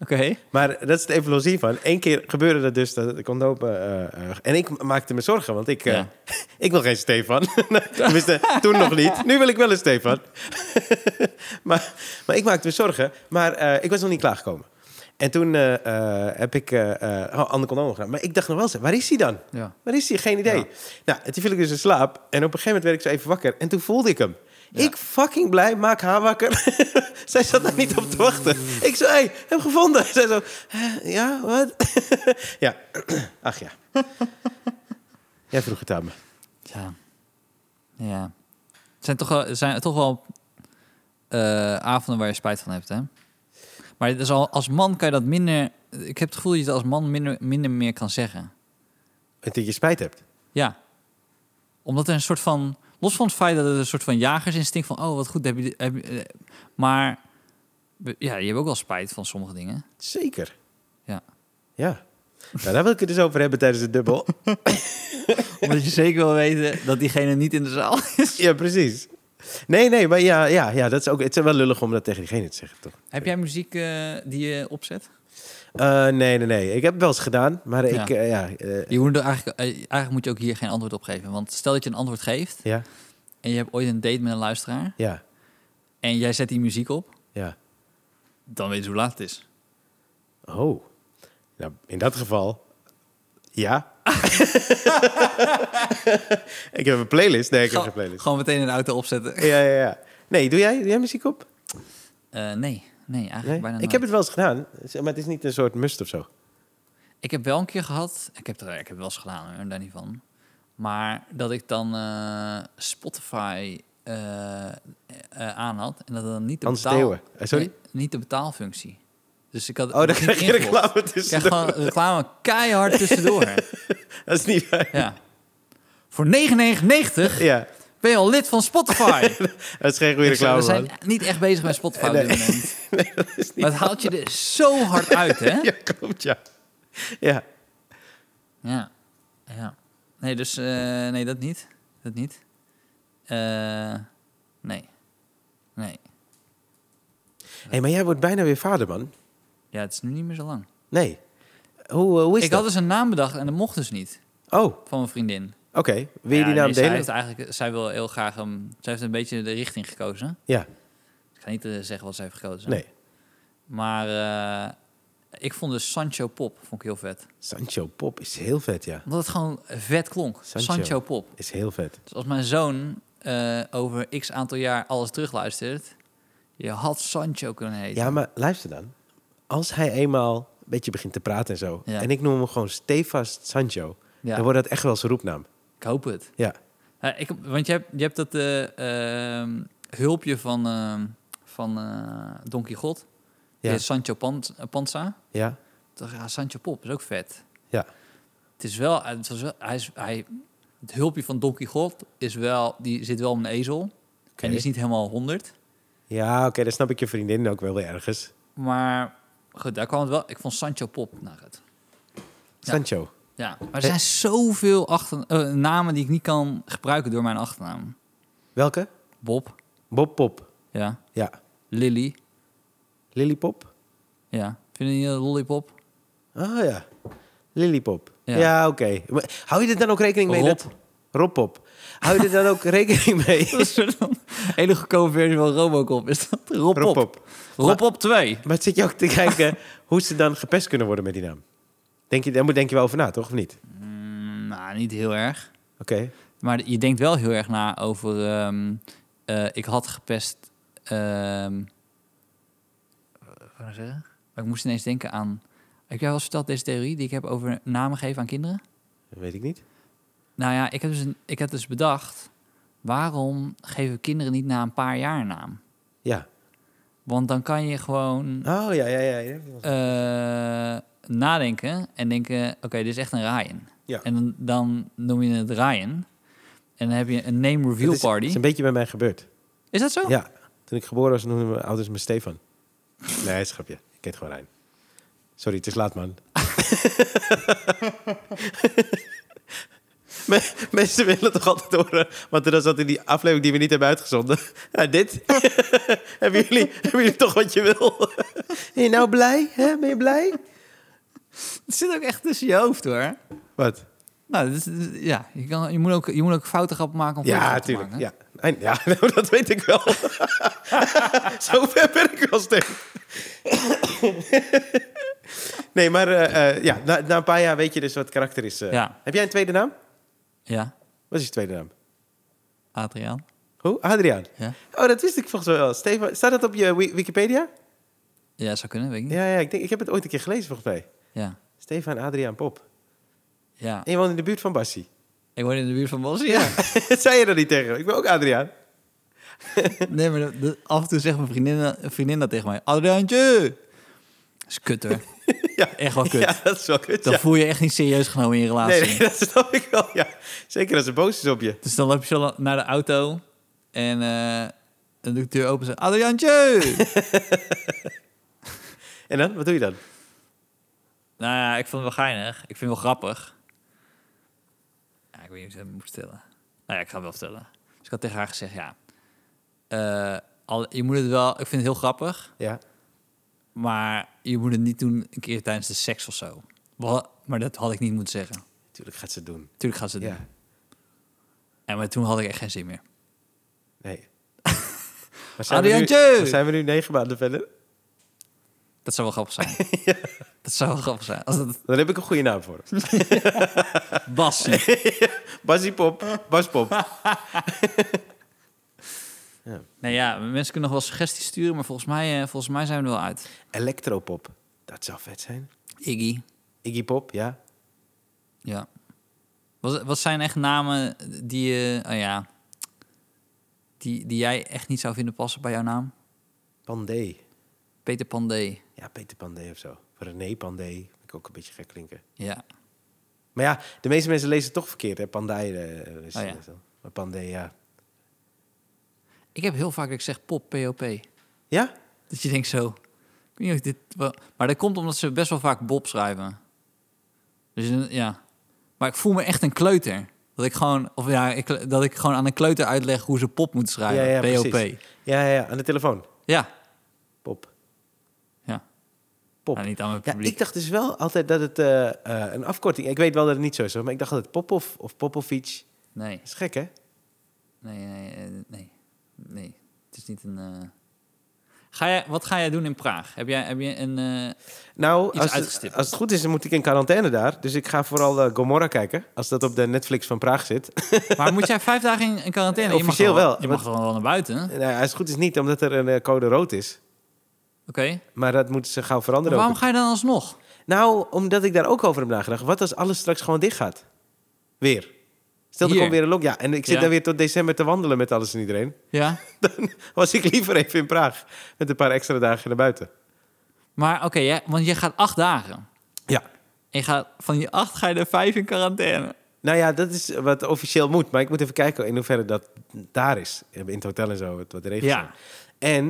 B: Oké.
A: Maar dat is de evolutie van. Eén keer gebeurde dat dus dat ik kon open. eh, eh, en ik maakte me zorgen, want ik, eh,
B: Ja.
A: ik wil geen Stefan. Tenminste, toen nog niet. Nu wil ik wel een Stefan. maar, maar ik maakte me zorgen. Maar eh, ik was nog niet klaargekomen. En toen eh, eh, heb ik eh eh oh, ander condoom gedaan. Maar ik dacht nog wel eens, waar is hij dan?
B: Ja.
A: Waar is hij? Geen idee.
B: Ja.
A: Nou, en toen viel ik dus in slaap. En op een gegeven moment werd ik zo even wakker. En toen voelde ik hem.
B: Ja.
A: Ik fucking blij, maak haar wakker. Zij zat daar niet op te wachten. Ik zo, hé, hey, heb gevonden. Zij zo, "Hè, ja, wat? ja, ach ja. Jij vroeg het aan me.
B: Ja. Ja. Het zijn toch wel, zijn toch wel eh, avonden waar je spijt van hebt, hè? Maar het is al, als man kan je dat minder... Ik heb het gevoel dat je het als man minder, minder meer kan zeggen.
A: En dat je spijt hebt.
B: Ja. Omdat er een soort van... Los van het feit dat het een soort van jagersinstinct van... Oh, wat goed, heb je... Heb je eh, maar we- ja, je hebt ook wel spijt van sommige dingen.
A: Zeker.
B: Ja.
A: Ja. Nou, daar wil ik het dus over hebben tijdens het dubbel.
B: Omdat je zeker wil weten dat diegene niet in de zaal is.
A: ja, precies. Nee, nee, maar ja, ja, ja, dat is ook... Het is wel lullig om dat tegen diegene te zeggen, toch?
B: Heb jij muziek eh, die je opzet?
A: Eh, nee, nee, nee. Ik heb het wel eens gedaan, maar ik...
B: Ja.
A: eh, ja, eh,
B: Je moet er eigenlijk, eh, eigenlijk moet je ook hier geen antwoord op geven. Want stel dat je een antwoord geeft...
A: ja,
B: en je hebt ooit een date met een luisteraar
A: ja,
B: en jij zet die muziek op,
A: ja.
B: dan weet je hoe laat het is.
A: Oh. Nou, in dat geval, ja. ik heb een playlist. Nee, ik heb
B: Gewoon-
A: geen playlist.
B: Gewoon meteen in de auto opzetten.
A: Ja, ja, ja. Nee, doe jij, doe jij muziek op?
B: Eh, nee, nee, eigenlijk
A: Nee?
B: bijna
A: Ik
B: nooit.
A: heb het wel eens gedaan, dus- maar het is niet een soort must of zo.
B: ik heb wel een keer gehad, ik heb, er, ik heb het wel eens gedaan hoor, daar niet van. Maar dat ik dan eh, Spotify eh, eh, aan had en dat dan niet de
A: Hans
B: betaal...
A: Theeuwen. Eh, sorry?
B: Nee, niet de betaalfunctie. Dus ik had
A: Oh, dan
B: dat
A: krijg
B: niet
A: je
B: ingelogd.
A: reclame
B: Ik krijg
A: tussen.
B: gewoon reclame keihard tussendoor.
A: Dat is niet waar.
B: ja. Voor 99
A: Ja,
B: ben je al lid van Spotify.
A: dat is geen goede
B: Ik zei,
A: reclame,
B: we zijn
A: man.
B: niet echt bezig met Spotify op
A: Nee.
B: dit moment.
A: Nee, dat is niet
B: Maar het haalt je er zo hard uit, hè?
A: Ja, klopt, ja. Ja,
B: Ja. ja. Nee, dus eh, nee, dat niet. Dat niet. Eh, nee. Nee.
A: hey, maar jij wordt bijna weer vader, man.
B: Ja, het is nu niet meer zo lang.
A: Nee. Hoe, eh, hoe is
B: ik
A: dat?
B: had dus een naam bedacht en dat mocht dus niet
A: Oh, oké.
B: van mijn vriendin.
A: Wil je die
B: Ja,
A: naam
B: nee, Zij,
A: delen?
B: heeft eigenlijk, zij wil heel graag hem. Zij heeft een beetje de richting gekozen.
A: Ja,
B: Ik ga niet eh, zeggen wat zij heeft gekozen.
A: nee.
B: Maar eh, ik vond dus Sancho Pop vond ik heel vet.
A: Sancho Pop is heel vet, ja.
B: Omdat het gewoon vet klonk.
A: Sancho.
B: Sancho Pop.
A: Is heel vet.
B: Dus als mijn zoon eh, over x aantal jaar alles terugluistert, je had Sancho kunnen heten.
A: Ja, maar luister dan. Als hij eenmaal een beetje begint te praten en zo...
B: Ja.
A: en ik noem hem gewoon Stefas Sancho...
B: Ja.
A: dan wordt dat echt wel zijn roepnaam.
B: Ik hoop het.
A: Ja.
B: Eh, ik, want je hebt, je hebt dat eh, ehm, hulpje van, ehm van eh Don Quixote,
A: Ja.
B: die heet Sancho Pan, eh, Panza.
A: Ja,
B: Toen dacht ik, ja, Sancho Pop is ook vet.
A: ja.
B: Het is wel, het, was wel hij is, hij, het hulpje van Don Quixote is wel, die zit wel op een ezel. En die is niet helemaal 100.
A: Ja, oké, dan snap ik je vriendin ook wel weer ergens.
B: Maar goed, daar kwam het wel. Ik vond Sancho Pop naar het. Ja.
A: Sancho.
B: Ja, maar er zijn zoveel achter, eh, namen die ik niet kan gebruiken door mijn achternaam.
A: Welke?
B: Bob,
A: Bob Pop.
B: ja.
A: Ja.
B: Lily,
A: Lillipop?
B: ja. Vind je niet een lollipop?
A: Ah ja. Lillipop. Ja,
B: Ja.
A: oké. Maar Hou je er dan ook rekening mee
B: Rob.
A: dat... Rob Pop. Hou je er dan ook rekening mee?
B: Dat is een hele goedkope versie van Robocop. Is dat Rob
A: Rob
B: Pop?
A: Pop.
B: Rob Pop 2.
A: Maar het zit je ook te kijken hoe ze dan gepest kunnen worden met die naam? Denk je, daar moet- denk je wel over na, toch? Of niet?
B: Mm, nou, niet heel erg.
A: Oké.
B: Maar je denkt wel heel erg na over... ehm, eh, ik had gepest... ehm, wat wou nou Oh, ik zeggen? Maar ik moest ineens denken aan... Heb jij wel eens verteld deze theorie die ik heb over namen geven aan kinderen?
A: Dat weet ik niet.
B: Nou ja, ik heb, dus een- ik heb dus bedacht... waarom geven kinderen niet na een paar jaar een naam?
A: Ja.
B: Want dan kan je gewoon
A: Oh, ja, ja, ja. ja.
B: eh, nadenken en denken... oké, dit is echt een Ryan.
A: Ja.
B: En dan, dan noem je het Ryan. En dan heb je een name
A: Dat
B: reveal
A: is-
B: party.
A: Dat
B: Is,
A: is een beetje bij mij gebeurd.
B: dat zo?
A: Ja. Toen ik geboren was, noemden mijn ouders me Stefan. Nee, schapje. Ik heet gewoon Rijn. Sorry, het is laat, man. Me- Mensen willen toch altijd horen, want dat zat in die aflevering die we niet hebben uitgezonden. Ja, dit. hebben, jullie, hebben jullie toch wat je wil? ben je nou blij? Hè? Ben je blij?
B: Het zit ook echt tussen je hoofd, hoor.
A: Wat?
B: Nou, dit is- dit is- ja, je, kan, je, moet ook, je moet ook fouten grappen maken om fouten
A: Ja,
B: grappen te
A: tuurlijk.
B: maken,
A: Ja,
B: hè?
A: En- ja nou, dat weet ik wel. Zo ver ben ik wel steeds. nee, maar eh, eh, ja, na, na een paar jaar weet je dus wat karakter is. eh.
B: Ja.
A: Heb jij een tweede naam?
B: Ja,
A: Wat is je tweede naam?
B: Adriaan.
A: Hoe? Adriaan.
B: Ja.
A: Oh, dat wist ik volgens mij wel. Stefan, staat dat op je Wi- Wikipedia?
B: ja, zou kunnen, weet ik niet.
A: Ja, ja ik, denk, ik heb het ooit een keer gelezen volgens mij.
B: Ja.
A: Stefan Adriaan Pop.
B: Ah. ja.
A: En je woont in de buurt van Bassie.
B: Ik woon in de buurt van Bosnië. Ja.
A: dat zei je dan niet tegen me. Ik ben ook Adriaan.
B: Nee, maar dat- dat- af en toe zegt mijn vriendin, eh, vriendin dat tegen mij. Adriaantje! Dat is kut, hoor.
A: ja.
B: Echt wel kut.
A: Ja, dat is wel kut.
B: Dan
A: ja.
B: voel je je echt niet serieus genomen in je relatie.
A: Nee, nee, dat snap ik wel. Ja. Zeker als ze boos is op je.
B: Dus dan loop je zo la- naar de auto en eh, dan doe ik de deur open en zeg... Adriaantje!
A: En dan? Wat doe je dan?
B: nou ja, ik vond het wel geinig. Ik vind het wel grappig. Ja, ik weet niet of ik het moet vertellen. Nou ja, ik ga het wel vertellen. Dus ik had tegen haar gezegd, ja... eh, al, je moet het wel... Ik vind het heel grappig...
A: Ja.
B: Maar je moet het niet doen een keer tijdens de seks of zo. Wa- Maar dat had ik niet moeten zeggen.
A: Tuurlijk gaat ze het doen.
B: Tuurlijk gaat ze het doen.
A: Ja.
B: En maar toen had ik echt geen zin meer.
A: Nee. Maar zijn, we nu,
B: Adriaantje!
A: maar zijn we nu negen maanden verder?
B: Dat zou wel grappig zijn. Dat zou wel grappig zijn. Als dat
A: Dan heb ik een goede naam voor.
B: was.
A: Basie Pop. Bas Pop.
B: nou ja, mensen kunnen nog wel suggesties sturen, maar volgens mij, eh, volgens mij zijn we er wel uit.
A: Electropop. Dat zou vet zijn.
B: Iggy.
A: Iggy Pop, ja.
B: Ja. Wat, wat zijn echt namen die je, oh ja, die, die jij echt niet zou vinden passen bij jouw naam?
A: Pandé.
B: Peter Pandé.
A: Ja, Peter Pandé of zo. René Pandé. Vind ik ook een beetje gek klinken.
B: Ja.
A: Maar ja, de meeste mensen lezen het toch verkeerd, hè? Pandai. eh, is
B: Oh, ja.
A: het wel. Maar Pandé, ja.
B: Ik heb heel vaak dat ik zeg pop, P.O.P.
A: Ja?
B: Dat je denkt zo. Ik weet niet of ik dit wel- Maar dat komt omdat ze best wel vaak Bob schrijven. Dus eh, ja. Maar ik voel me echt een kleuter. Dat ik gewoon, of ja, ik, dat ik gewoon aan een kleuter uitleg hoe ze pop moet schrijven.
A: Ja, ja,
B: POP.
A: precies. Ja, ja, ja. Aan de telefoon.
B: Ja.
A: Pop.
B: ja.
A: Pop.
B: Nou, niet aan mijn
A: Ja,
B: publiek.
A: ik dacht dus wel altijd dat het eh, eh, een afkorting... Ik weet wel dat het niet zo is, hoor, maar ik dacht dat het Popov of Popovic...
B: Nee,
A: Dat is gek, hè?
B: nee, nee, eh, nee. Nee. Het is niet een. eh. Ga jij, wat ga jij doen in Praag? Heb jij, heb je een. eh,
A: Nou,
B: Iets
A: als het,
B: uitgestippeld.
A: als het goed is, dan moet ik in quarantaine daar. Dus ik ga vooral eh, Gomorra kijken. Als dat op de Netflix van Praag zit.
B: Maar moet jij vijf dagen in, in quarantaine? Je mag
A: Officieel
B: gewoon-
A: wel,
B: Je
A: want-
B: mag gewoon wel naar buiten. Oké.
A: nou, ja, als het goed is niet, omdat er een eh, code rood is. Maar dat moeten ze gauw
B: Maar
A: veranderen.
B: Waarom
A: ook.
B: ga je dan alsnog?
A: Nou, omdat ik daar ook over heb nagedacht. Wat als alles straks gewoon dicht gaat? Weer. Stel, er
B: Hier.
A: komt weer een lock. Ja, en ik zit
B: Ja.
A: daar weer tot december te wandelen met alles en iedereen.
B: Ja.
A: Dan was ik liever even in Praag. Met een paar extra dagen naar buiten.
B: Maar oké, jij- want je gaat acht dagen.
A: Ja.
B: En je gaat, van die acht ga je er vijf in quarantaine.
A: Nou ja, dat is wat officieel moet. Maar ik moet even kijken in hoeverre dat daar is. In het hotel en zo, wat de regels
B: Ja.
A: zijn.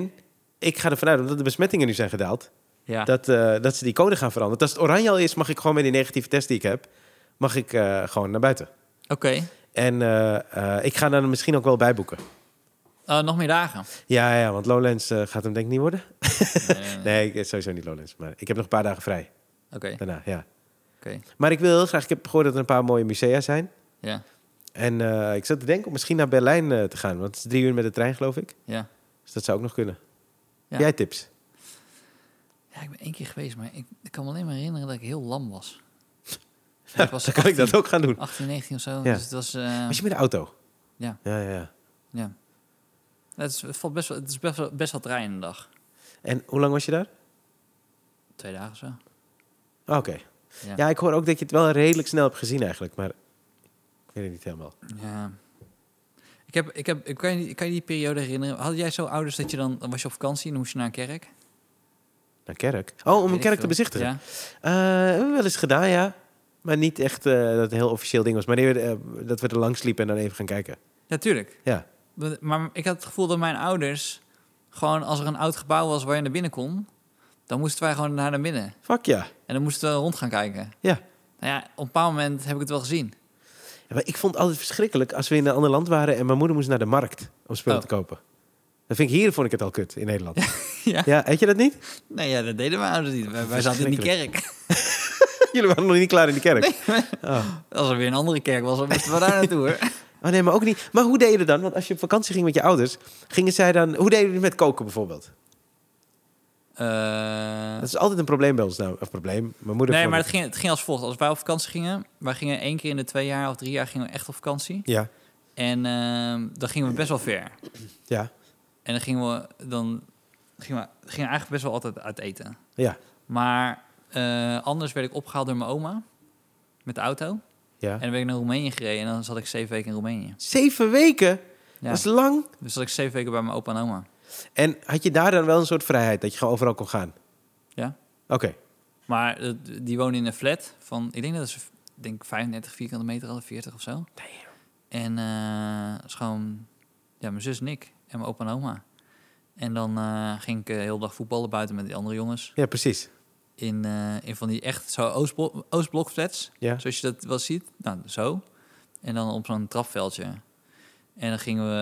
A: En ik ga ervan uit, omdat de besmettingen nu zijn gedaald...
B: Ja.
A: Dat, eh, dat ze die code gaan veranderen. Want als het oranje al is, mag ik gewoon met die negatieve test die ik heb... mag ik eh, gewoon naar buiten.
B: Oké,
A: En eh, eh, ik ga dan misschien ook wel bijboeken.
B: Eh, nog meer dagen.
A: Ja, ja, want Lowlands eh, gaat hem denk ik niet worden.
B: Eh,
A: Nee, ik- sowieso niet Lowlands. Maar ik heb nog een paar dagen vrij
B: Oké,
A: daarna, ja.
B: oké.
A: Maar ik wil heel graag... Ik heb gehoord dat er een paar mooie musea zijn.
B: Ja,
A: En eh, ik zat te denken om misschien naar Berlijn eh, te gaan. Want het is drie uur met de trein, geloof ik.
B: ja.
A: Dus dat zou ook nog kunnen.
B: Ja.
A: Jij tips?
B: Ja, ik ben één keer geweest, maar ik, ik kan me alleen maar herinneren dat ik heel lam was. ik was
A: Dan kan ik dat ook gaan doen.
B: 18, 19 of zo.
A: Ja.
B: Dus het was... eh,
A: Als je met de auto?
B: Ja.
A: ja, ja, ja.
B: ja. Het, is, het valt best wel, het is best wel, best wel trein een dag.
A: En hoe lang was je daar?
B: Twee dagen of zo.
A: Ah, Oké.
B: Ja.
A: Ja, ik hoor ook dat je het wel redelijk snel hebt gezien eigenlijk, maar ik weet het niet helemaal.
B: Ja. Ik, heb, ik, heb, ik, kan je, ik kan je die periode herinneren. Had jij zo ouders dat je dan, dan was je op vakantie en dan moest je naar een kerk?
A: Naar kerk. Oh, om
B: Weet
A: een
B: ik
A: kerk te
B: veel.
A: bezichtigen.
B: Ja.
A: Eh, hebben we wel eens gedaan, ja. Maar niet echt eh, dat het een heel officieel ding was. Maar nee, eh, dat we er langs liepen en dan even gaan kijken.
B: ja, tuurlijk.
A: Ja.
B: Maar- Maar ik had het gevoel dat mijn ouders... gewoon als er een oud gebouw was waar je naar binnen kon... dan moesten wij gewoon naar naar binnen.
A: Fuck ja.
B: En dan moesten we rond gaan kijken.
A: Ja.
B: Nou ja, op een bepaald moment heb ik het wel gezien.
A: Ja, maar ik vond het altijd verschrikkelijk als we in een ander land waren en mijn moeder moest naar de markt om spullen
B: Oh.
A: te kopen. Dat vind ik hier vond ik het al kut in Nederland. Ja,
B: ja.
A: weet je dat niet?
B: Nee, ja, dat deden mijn ouders niet. Wij, wij zaten in die kerk.
A: Jullie waren nog niet klaar in de kerk. Oh.
B: Als er weer een andere kerk was, dan moesten we daar naartoe, hoor.
A: oh nee, maar ook niet. Maar hoe deed je dat dan? Want als je op vakantie ging met je ouders, gingen zij dan. Hoe deden jullie met koken bijvoorbeeld?
B: Eh,
A: Dat is altijd een probleem bij ons nou. Of probleem. Mijn moeder.
B: nee,
A: vond
B: maar het ging, het ging als volgt. Als wij op vakantie gingen... wij gingen één keer in de twee jaar of drie jaar gingen we echt op vakantie.
A: Ja,
B: En ehm, dan gingen we best wel ver.
A: ja,
B: En dan gingen we, dan gingen we, gingen we eigenlijk best wel altijd uit eten.
A: ja,
B: Maar eh, anders werd ik opgehaald door mijn oma met de auto.
A: ja.
B: En dan ben ik naar Roemenië gereden en dan zat ik zeven weken in Roemenië.
A: Zeven weken?
B: Ja.
A: Dat is lang.
B: Dus zat ik zeven weken bij mijn opa en oma.
A: En had je daar dan wel een soort vrijheid dat je gewoon overal kon gaan?
B: Ja.
A: Oké.
B: Maar eh, die woonde in een flat van, ik denk dat ze ik denk 35 vierkante meter hadden, 40 of zo. En eh, dat is gewoon ja, mijn zus en ik en mijn opa en oma. En dan eh, ging ik eh, heel de dag voetballen buiten met die andere jongens.
A: Ja, precies.
B: in, eh, in van die echt zo Oostblok, Oostblokflats.
A: Ja.
B: Zoals je dat wel ziet. Nou, zo. En dan op zo'n trapveldje. En dan gingen we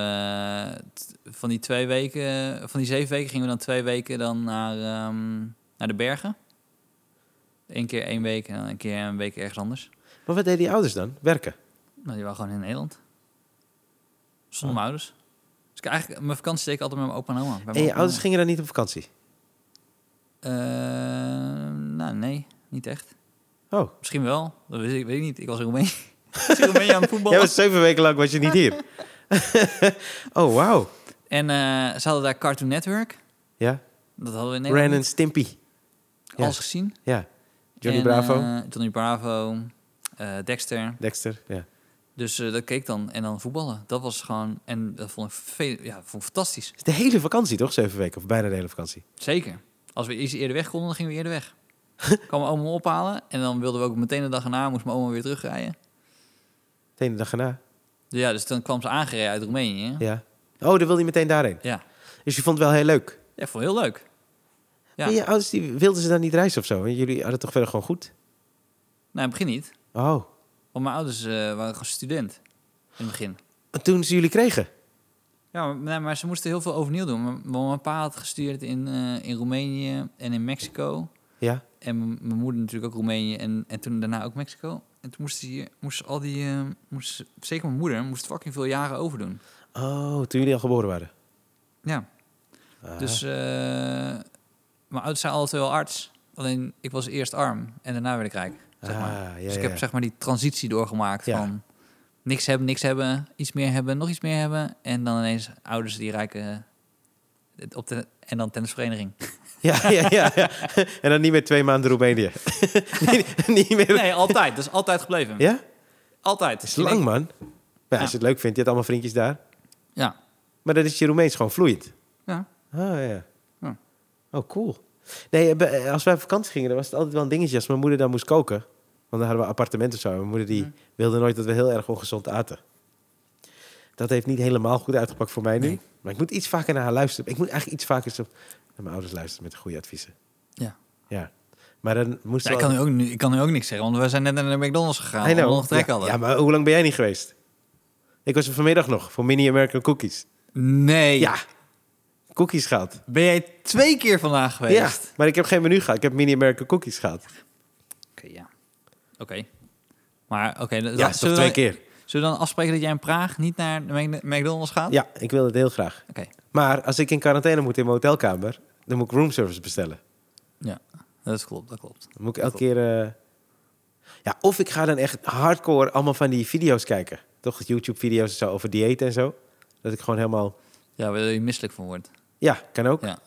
B: eh, t- van die twee weken, van die zeven weken, gingen we dan twee weken dan naar, ehm, naar de bergen. Eén keer één week en dan een keer een week ergens anders.
A: Maar wat deden die ouders dan? Werken.
B: Nou, die waren gewoon in Nederland. Zonder
A: Oh.
B: mijn ouders. Dus ik eigenlijk, mijn vakantie deed ik altijd met mijn opa en oma. Bij mijn
A: En je
B: opa en
A: ouders
B: oma.
A: gingen dan niet op vakantie?
B: Eh, nou, nee, niet echt.
A: Oh.
B: Misschien wel. Dat weet ik, weet ik niet. Ik was in Roemenië. Ik was in Roemenië aan het voetballen.
A: Jij was zeven weken lang was je niet hier. oh, wauw.
B: En eh, ze hadden daar Cartoon Network.
A: Ja.
B: Dat hadden we in
A: Ren en
B: Nederland
A: Stimpy.
B: niet
A: ja.
B: alles gezien.
A: Ja. Johnny
B: En,
A: Bravo.
B: eh, Johnny Bravo. eh, Dexter.
A: Dexter. Ja.
B: Dus eh, dat keek dan. En dan voetballen. Dat was gewoon... En dat vond ik, veel, ja, vond ik fantastisch.
A: Is de hele vakantie toch? Zeven weken. Of bijna de hele vakantie.
B: Zeker. Als we iets eerder weg konden, dan gingen we eerder weg. kwam mijn oma me ophalen. En dan wilden we ook meteen de dag erna. Moest mijn oma weer terugrijden.
A: De ene dag erna.
B: Dus ja, dus dan kwam ze aangereden uit Roemenië.
A: Ja. Oh, dan wilde je meteen daarheen.
B: Ja.
A: Dus je vond het wel heel leuk.
B: Ja, vond ik heel leuk. Ja.
A: Maar je ouders die wilden ze dan niet reizen of zo? En jullie hadden het toch verder gewoon goed?
B: Nou, in het begin niet.
A: Oh.
B: Want mijn ouders eh, waren gewoon student. In het begin.
A: En toen ze jullie kregen?
B: Ja, maar, nee, maar ze moesten heel veel overnieuw doen. Mijn- want Mijn pa had gestudeerd in, eh, in Roemenië en in Mexico.
A: Ja.
B: En m- mijn moeder natuurlijk ook Roemenië en, en toen daarna ook Mexico. En toen moest, ze hier, moest al die... eh, moest, zeker mijn moeder moest fucking veel jaren overdoen.
A: Oh, toen jullie al geboren waren.
B: Ja,
A: Ah.
B: dus... eh, mijn ouders zijn altijd wel arts. Alleen ik was eerst arm en daarna werd ik rijk. Zeg
A: Ah,
B: maar.
A: ja,
B: dus ik
A: ja,
B: heb
A: ja.
B: zeg maar die transitie doorgemaakt
A: Ja.
B: van... Niks hebben, niks hebben, iets meer hebben, nog iets meer hebben. En dan ineens ouders die rijken... eh, Op de, en dan tennisvereniging.
A: Ja, ja, ja, ja. En dan niet meer twee maanden Roemenië. niet, niet meer...
B: Nee, altijd. Dat is altijd gebleven.
A: Ja?
B: Altijd.
A: Dat is lang, man. Maar ja, als je het leuk vindt, je hebt allemaal vriendjes daar.
B: Ja.
A: Maar dan is je Roemeens gewoon vloeiend.
B: Ja.
A: Ah, ja.
B: Ja.
A: Oh, cool. Nee, eh, bij- eh, als wij op vakantie gingen, dan was het altijd wel een dingetje als mijn moeder dan moest koken. Want dan hadden we een appartement of zo. En Mijn moeder die
B: Mm.
A: wilde nooit dat we heel erg ongezond aten. Dat heeft niet helemaal goed uitgepakt voor mij nu.
B: Nee.
A: Maar ik moet iets vaker naar haar luisteren. Ik moet eigenlijk iets vaker zo- naar mijn ouders luisteren met de goede adviezen.
B: Ja.
A: Ja. Maar dan moest
B: Ja, ik, kan nu ook, nu- ik kan nu ook niks zeggen, want we zijn net naar de McDonald's gegaan.
A: I
B: omdat
A: know.
B: we nog trek
A: ja,
B: hadden.
A: ja, maar hoe lang ben jij niet geweest? Ik was er vanmiddag nog voor Mini American Cookies.
B: Nee.
A: Ja, cookies gehad.
B: Ben jij twee keer vandaag
A: Ja,
B: geweest?
A: maar ik heb geen menu gehad. Ik heb Mini American Cookies gehad.
B: Oké, ja. Oké. Maar oké, dan-
A: Ja,
B: dan-
A: is
B: zullen,
A: toch
B: we
A: twee
B: dan-
A: keer.
B: zullen we dan afspreken dat jij in Praag niet naar de Mc- McDonald's gaat?
A: Ja, ik wil het heel graag.
B: Oké.
A: Maar als ik in quarantaine moet in mijn hotelkamer, dan moet ik roomservice bestellen.
B: Ja, dat klopt, dat klopt.
A: Dan moet ik elke keer... eh, Ja, of ik ga dan echt hardcore allemaal van die video's kijken. Toch YouTube-video's en zo over dieet en zo. Dat ik gewoon helemaal...
B: Ja, waar je misselijk van wordt.
A: Ja, kan ook.
B: Ja.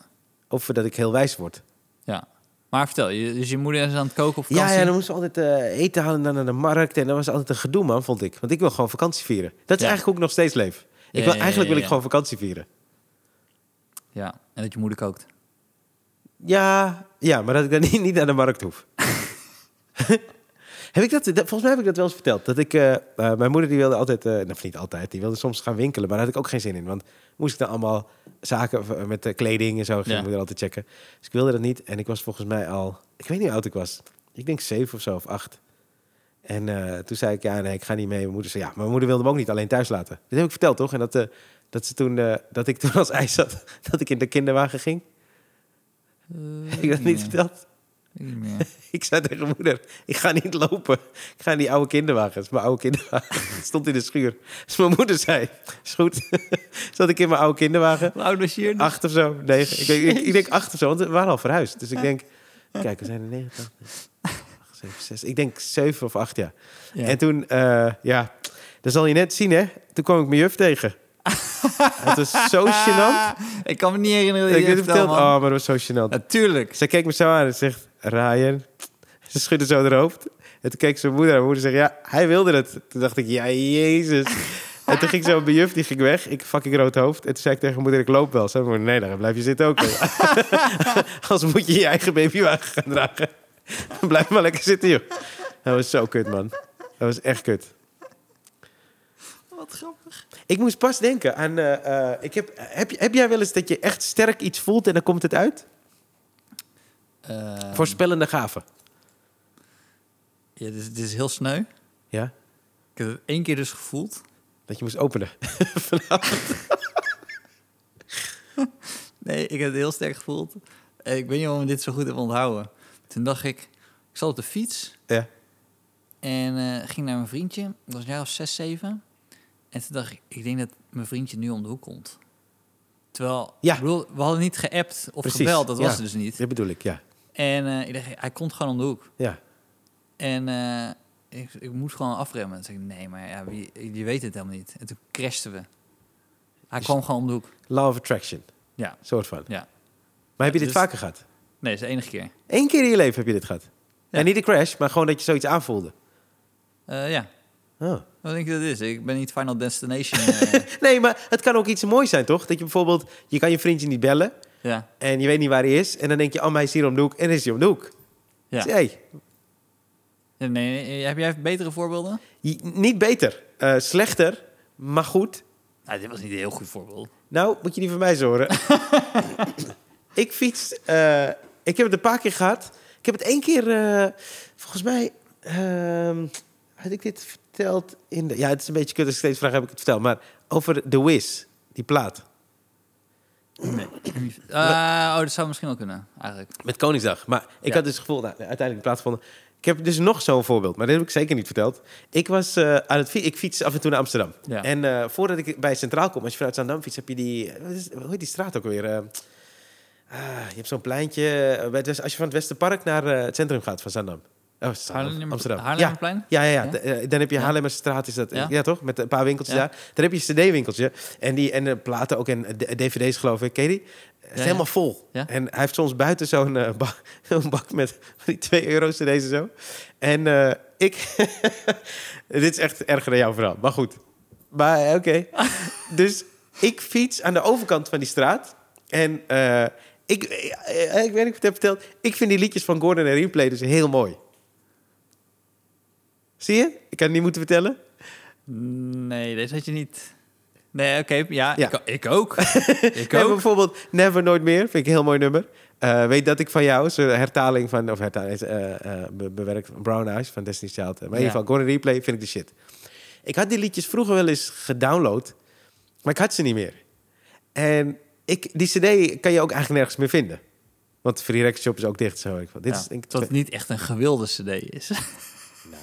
A: Of dat ik heel wijs word.
B: Ja. Maar vertel, je, dus je moeder is aan het koken op
A: Ja,
B: vakantie?
A: ja, dan moesten we altijd eh, eten halen en dan naar de markt. En dat was altijd een gedoe, man, vond ik. Want ik wil gewoon vakantie vieren. Dat is
B: Ja.
A: eigenlijk hoe ik nog steeds leef.
B: Ja,
A: ik wil,
B: ja,
A: eigenlijk
B: ja,
A: wil ik
B: ja.
A: gewoon vakantie vieren.
B: Ja, en dat je moeder kookt.
A: Ja, ja maar dat ik dan niet, niet naar de markt hoef. heb ik dat, dat- volgens mij heb ik dat wel eens verteld. Dat ik, eh, eh, mijn moeder die wilde altijd, eh, of niet altijd, die wilde soms gaan winkelen. Maar daar had ik ook geen zin in. Want moest ik dan allemaal zaken v- met eh, kleding en zo, ging
B: Ja.
A: mijn moeder altijd checken. Dus ik wilde dat niet. En ik was volgens mij al, ik weet niet hoe oud ik was. Ik denk zeven of zo, of acht. En eh, toen zei ik, ja, nee, ik ga niet mee. Mijn moeder zei, ja, maar mijn moeder wilde hem ook niet alleen thuis laten. Dit heb ik verteld, toch? En dat, eh, dat, ze toen, eh, dat ik toen als ijs zat, dat ik in de kinderwagen ging. Heb ik dat niet verteld?
B: Eh, Niet meer.
A: Ik zei tegen moeder, ik ga niet lopen. Ik ga in die oude kinderwagens. Mijn oude kinderwagen stond in de schuur. Dus mijn moeder zei, is goed. Zat ik in mijn oude kinderwagen.
B: Hoe oud was je hier?
A: Acht of zo, negen. Ik, denk- ik, ik denk acht of zo, want we waren al verhuisd. Dus ik denk, kijk, we zijn er negen. acht, zeven, zes. Ik denk zeven of acht, ja.
B: Ja.
A: En toen, eh, ja, dat zal je net zien, hè. Toen kwam ik mijn juf tegen. het was zo gênant.
B: Ah, Ik kan me niet herinneren dat
A: Ik
B: je
A: heb het
B: dit
A: verteld.
B: vertelde, man.
A: Oh, maar dat was zo gênant.
B: Natuurlijk.
A: Zij keek me zo aan en zegt, Ryan. Ze schudde zo haar hoofd. En toen keek zijn moeder en mijn moeder zegt, ja, hij wilde het. Toen dacht ik, ja, jezus. En toen ging zo'n bejuf, die ging weg. Ik fucking rood hoofd. En toen zei ik tegen mijn moeder, ik loop wel. Ze zei, nee, dan blijf je zitten ook. Als moet je je eigen babywagen gaan dragen. blijf maar lekker zitten, joh. Dat was zo kut, man. Dat was echt kut.
B: Wat grappig.
A: Ik moest pas denken aan... eh, eh, ik heb, heb, je- heb jij wel eens dat je echt sterk iets voelt en dan komt het uit? Ehm,
B: Eh,
A: Voorspellende gaven.
B: ja, dit, is- dit is heel sneu.
A: Ja?
B: Ik heb het één keer dus gevoeld.
A: Dat je moest openen.
B: Nee, ik heb het heel sterk gevoeld. Eh, Ik weet niet waarom ik dit zo goed heb onthouden. Toen dacht ik, ik zat op de fiets
A: Ja.
B: en eh, ging naar mijn vriendje. Dat was een jaar of zes, zeven. En toen dacht ik, ik denk dat mijn vriendje nu om de hoek komt. Terwijl,
A: Ja.
B: ik bedoel, we hadden niet geappt of
A: Precies,
B: gebeld, dat was
A: ja.
B: het dus niet.
A: Dat bedoel ik, ja.
B: En eh, ik dacht, hij komt gewoon om de hoek.
A: ja.
B: En eh, ik, ik moest gewoon afremmen. Toen zei ik, nee, maar ja, wie, je weet het helemaal niet. En toen crashten we. Hij
A: Dus-
B: kwam gewoon om de hoek.
A: Law of Attraction,
B: Ja,
A: soort van.
B: ja.
A: Maar heb je dit
B: Dus-
A: vaker gehad?
B: Nee, dat is de enige keer.
A: Eén keer in je leven heb je dit gehad?
B: Ja.
A: En niet de crash, maar gewoon dat je zoiets aanvoelde.
B: Eh, ja,
A: Oh.
B: wat denk je dat het is? Ik ben niet Final Destination. eh,
A: Nee, maar het kan ook iets moois zijn, toch? Dat je bijvoorbeeld, je kan je vriendje niet bellen
B: ja,
A: en je weet niet waar hij is. En dan denk je, oh, maar hij is hier om de hoek en dan is hij om de hoek.
B: ja.
A: Dus, hey,
B: Nee, nee, eh, heb jij betere voorbeelden?
A: je- niet beter, eh, slechter, maar goed.
B: Nou, dit was niet een heel goed voorbeeld.
A: Nou, moet je die van mij eens horen. ik fiets. eh, ik heb het een paar keer gehad. Ik heb het één keer. eh, volgens mij. ehm, had ik dit verteld in de. Ja, het is een beetje kut als ik steeds vraag heb ik het verteld. Maar over The Wiz, die plaat.
B: Eh, oh, dat zou misschien wel kunnen, eigenlijk.
A: Met Koningsdag. Maar ik
B: Ja.
A: had dus het gevoel, nou, uiteindelijk de plaats gevonden. Ik heb dus nog zo'n voorbeeld, maar dat heb ik zeker niet verteld. Ik was eh, aan het fi- ik fiets af en toe naar Amsterdam.
B: Ja.
A: En eh, voordat ik bij Centraal kom, als je vanuit Zandam fietst, heb je die, eh, wat is- hoe heet die straat ook weer? Eh, ah, je hebt zo'n pleintje, eh, bij het West- als je van het Westerpark naar eh, het centrum gaat van Zandam. Oh, Zandam,
B: Haarlem-
A: Amsterdam. Ja.
B: Haarlemmerplein?
A: Ja, ja, ja.
B: Ja?
A: D- eh, Dan heb je
B: Ja.
A: Haarlemmerstraat, is dat? Ja.
B: Ja.
A: toch? Met een paar winkeltjes
B: Ja.
A: daar. Dan heb je een cd-winkeltje. En, die, en eh, platen ook en eh, d- dvd's geloof ik. Ken je die? Het is
B: ja.
A: helemaal vol.
B: Ja.
A: En hij heeft soms buiten zo'n eh, ba- een bak met van die 2 euro cd's en zo. En eh, ik... Dit is echt erger dan jouw verhaal. Maar goed. Maar eh, oké. dus ik fiets aan de overkant van die straat. En eh, ik, eh, eh, ik weet niet of ik het heb verteld. Ik vind die liedjes van Gordon en Replay dus heel mooi. Zie je? Ik had het niet moeten vertellen.
B: Nee, deze had je niet. Nee, oké, ja,
A: Ja.
B: Ik, ik ook. ik
A: Ik heb
B: ook.
A: bijvoorbeeld Never Nooit Meer. Vind ik een heel mooi nummer. Eh, weet dat ik van jou is een hertaling van... Of hertaling is eh, eh, be- bewerkt van Brown Eyes van Destiny's Child. Maar in ieder
B: Ja.
A: geval, Gordon Replay vind ik de shit. Ik had die liedjes vroeger wel eens gedownload. Maar ik had ze niet meer. En ik, die cd kan je ook eigenlijk nergens meer vinden. Want Free Record Shop is ook dicht. Zo. Ik, dit
B: Ja,
A: is denk ik
B: dat het niet echt een gewilde cd is.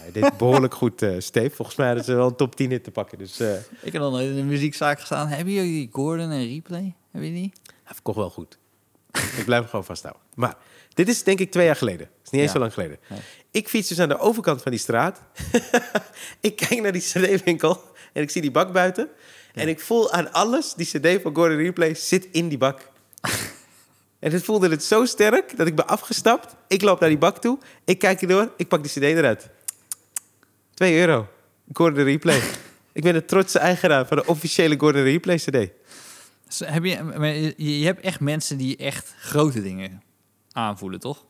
A: Nee, dit is behoorlijk goed, eh Steve. Volgens mij hadden ze wel een top 10 hit te pakken. Dus eh hij
B: ik heb dan nooit in een muziekzaak gestaan. Hebben jullie die Gordon en Replay? Heb je die?
A: verkocht wel goed. ik blijf hem gewoon vasthouden. Maar dit is denk ik twee jaar geleden. Het is niet eens
B: Ja.
A: zo lang geleden.
B: Nee.
A: Ik fiets dus aan de overkant van die straat. ik kijk naar die cd-winkel en ik zie die bak buiten. En ik voel aan alles, die cd van Gordon Replay zit in die bak. En het voelde het zo sterk dat ik ben afgestapt. Ik loop naar die bak toe. Ik kijk erdoor. Ik pak die cd eruit. 2 euro. Gordon Replay. ik ben de trotse eigenaar van de officiële Gordon Replay cd.
B: Dus heb je, maar je- je hebt echt mensen die echt grote dingen aanvoelen, toch?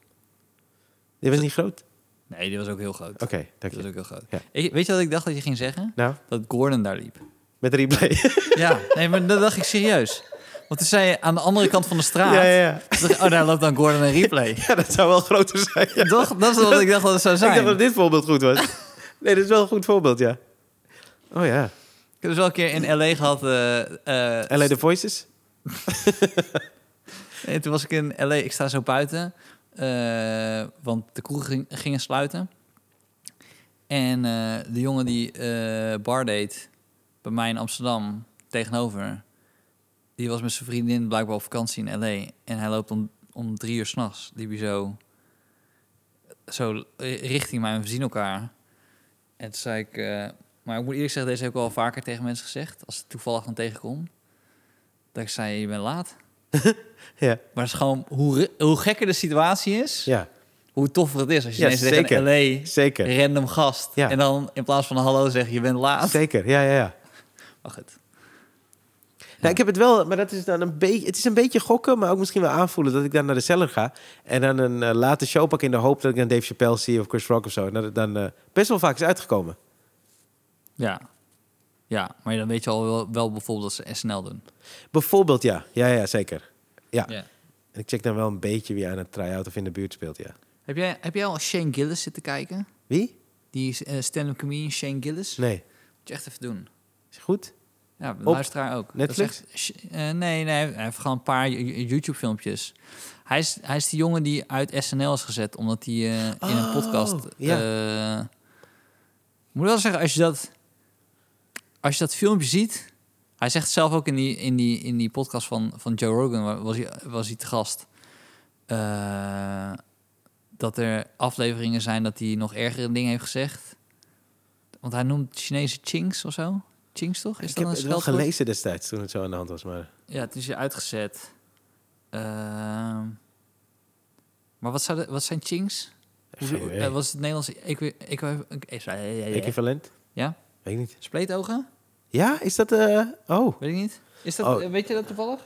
A: Die was niet groot.
B: Nee, die was ook heel groot.
A: Oké, dank
B: Die was
A: je.
B: ook heel groot.
A: Ja.
B: Ik- weet je wat ik dacht dat je ging zeggen?
A: Nou,
B: Dat Gordon daar liep.
A: met Replay.
B: Ja, nee, maar dat dacht ik serieus. Want toen zei je aan de andere kant van de straat.
A: ja, ja, ja.
B: Toen dacht ik, oh, daar loopt dan Gordon en replay.
A: Ja, dat zou wel groter zijn. ja.
B: Toch? Dat is wat ik dacht dat het zou
A: Ik dacht dat
B: zijn.
A: dit voorbeeld goed was. Nee, dit is wel een goed voorbeeld, ja. Oh ja.
B: Ik heb dus wel een keer in L.A. gehad. eh, eh,
A: LA The Voices?
B: En toen was ik in L.A. Ik sta zo buiten, eh, want de kroeg ging, gingen sluiten. En eh, de jongen die eh, bar deed bij mij in Amsterdam tegenover... die was met zijn vriendin blijkbaar op vakantie in L.A. En hij loopt om, om drie uur s'nachts. Die zo, zo richting mij en we zien elkaar. En toen zei ik... eh, maar ik moet eerlijk zeggen, deze heb ik al vaker tegen mensen gezegd... als ik toevallig dan tegenkom. Dat ik zei, je bent laat.
A: Ja.
B: Maar het is gewoon hoe, ri- hoe gekker de situatie is,
A: Ja,
B: hoe toffer het is. Als je
A: Ja,
B: ineens zegt
A: zeker.
B: een LA,
A: zeker.
B: random gast.
A: Ja.
B: En dan in plaats van hallo zeg je, je bent laat.
A: Zeker, ja, ja, ja.
B: Maar goed.
A: Nou, ik heb het wel, maar dat is dan een beetje. Het is een beetje gokken, maar ook misschien wel aanvoelen dat ik dan naar de cellar ga. En dan een eh, late show pak in de hoop dat ik dan Dave Chappelle zie of Chris Rock of zo. En dat het dan eh, best wel vaak is uitgekomen.
B: Ja. ja, maar dan weet je al wel, wel bijvoorbeeld dat ze SNL doen.
A: Bijvoorbeeld, ja. Ja, ja, zeker. Ja.
B: Ja.
A: En ik check dan wel een beetje wie aan het try-out of in de buurt speelt, ja.
B: Heb, jij, heb jij al Shane Gillis zitten kijken?
A: Wie?
B: Die eh, stand-up comedian Shane Gillis?
A: Nee.
B: Moet je echt even doen.
A: Is het goed?
B: Ja, de
A: Op
B: luisteraar ook.
A: Netflix?
B: Dat is echt- eh, nee, nee, hij heeft gewoon een paar Yo- YouTube-filmpjes. Hij is, hij is die jongen die uit SNL is gezet, omdat hij eh, in een
A: Oh,
B: podcast...
A: ja.
B: eh, ik moet wel zeggen, als je dat, als je dat filmpje ziet... Hij zegt zelf ook in die, in die, in die podcast van, van Joe Rogan, wa- was hij, was hij te gast... eh, dat er afleveringen zijn dat hij nog ergere dingen heeft gezegd. Want hij noemt Chinese chinks of zo. Chinks toch? Is
A: ik
B: dat
A: heb
B: een
A: het wel
B: scheldwoord?
A: gelezen destijds toen het zo aan de hand was, maar...
B: Ja, het is je uitgezet. Ehm, maar wat, zou de- wat zijn chinks? Hoe-
A: Geen idee.
B: eh, wat is het Nederlands? Ik weet, ik weet, ik, eh, sorry, ja, ja, ja.
A: Equivalent?
B: Ja?
A: Weet ik niet.
B: Spleetogen?
A: Ja, is dat... eh, Oh,
B: Weet ik niet. Is dat,
A: Oh.
B: eh, Weet je dat toevallig?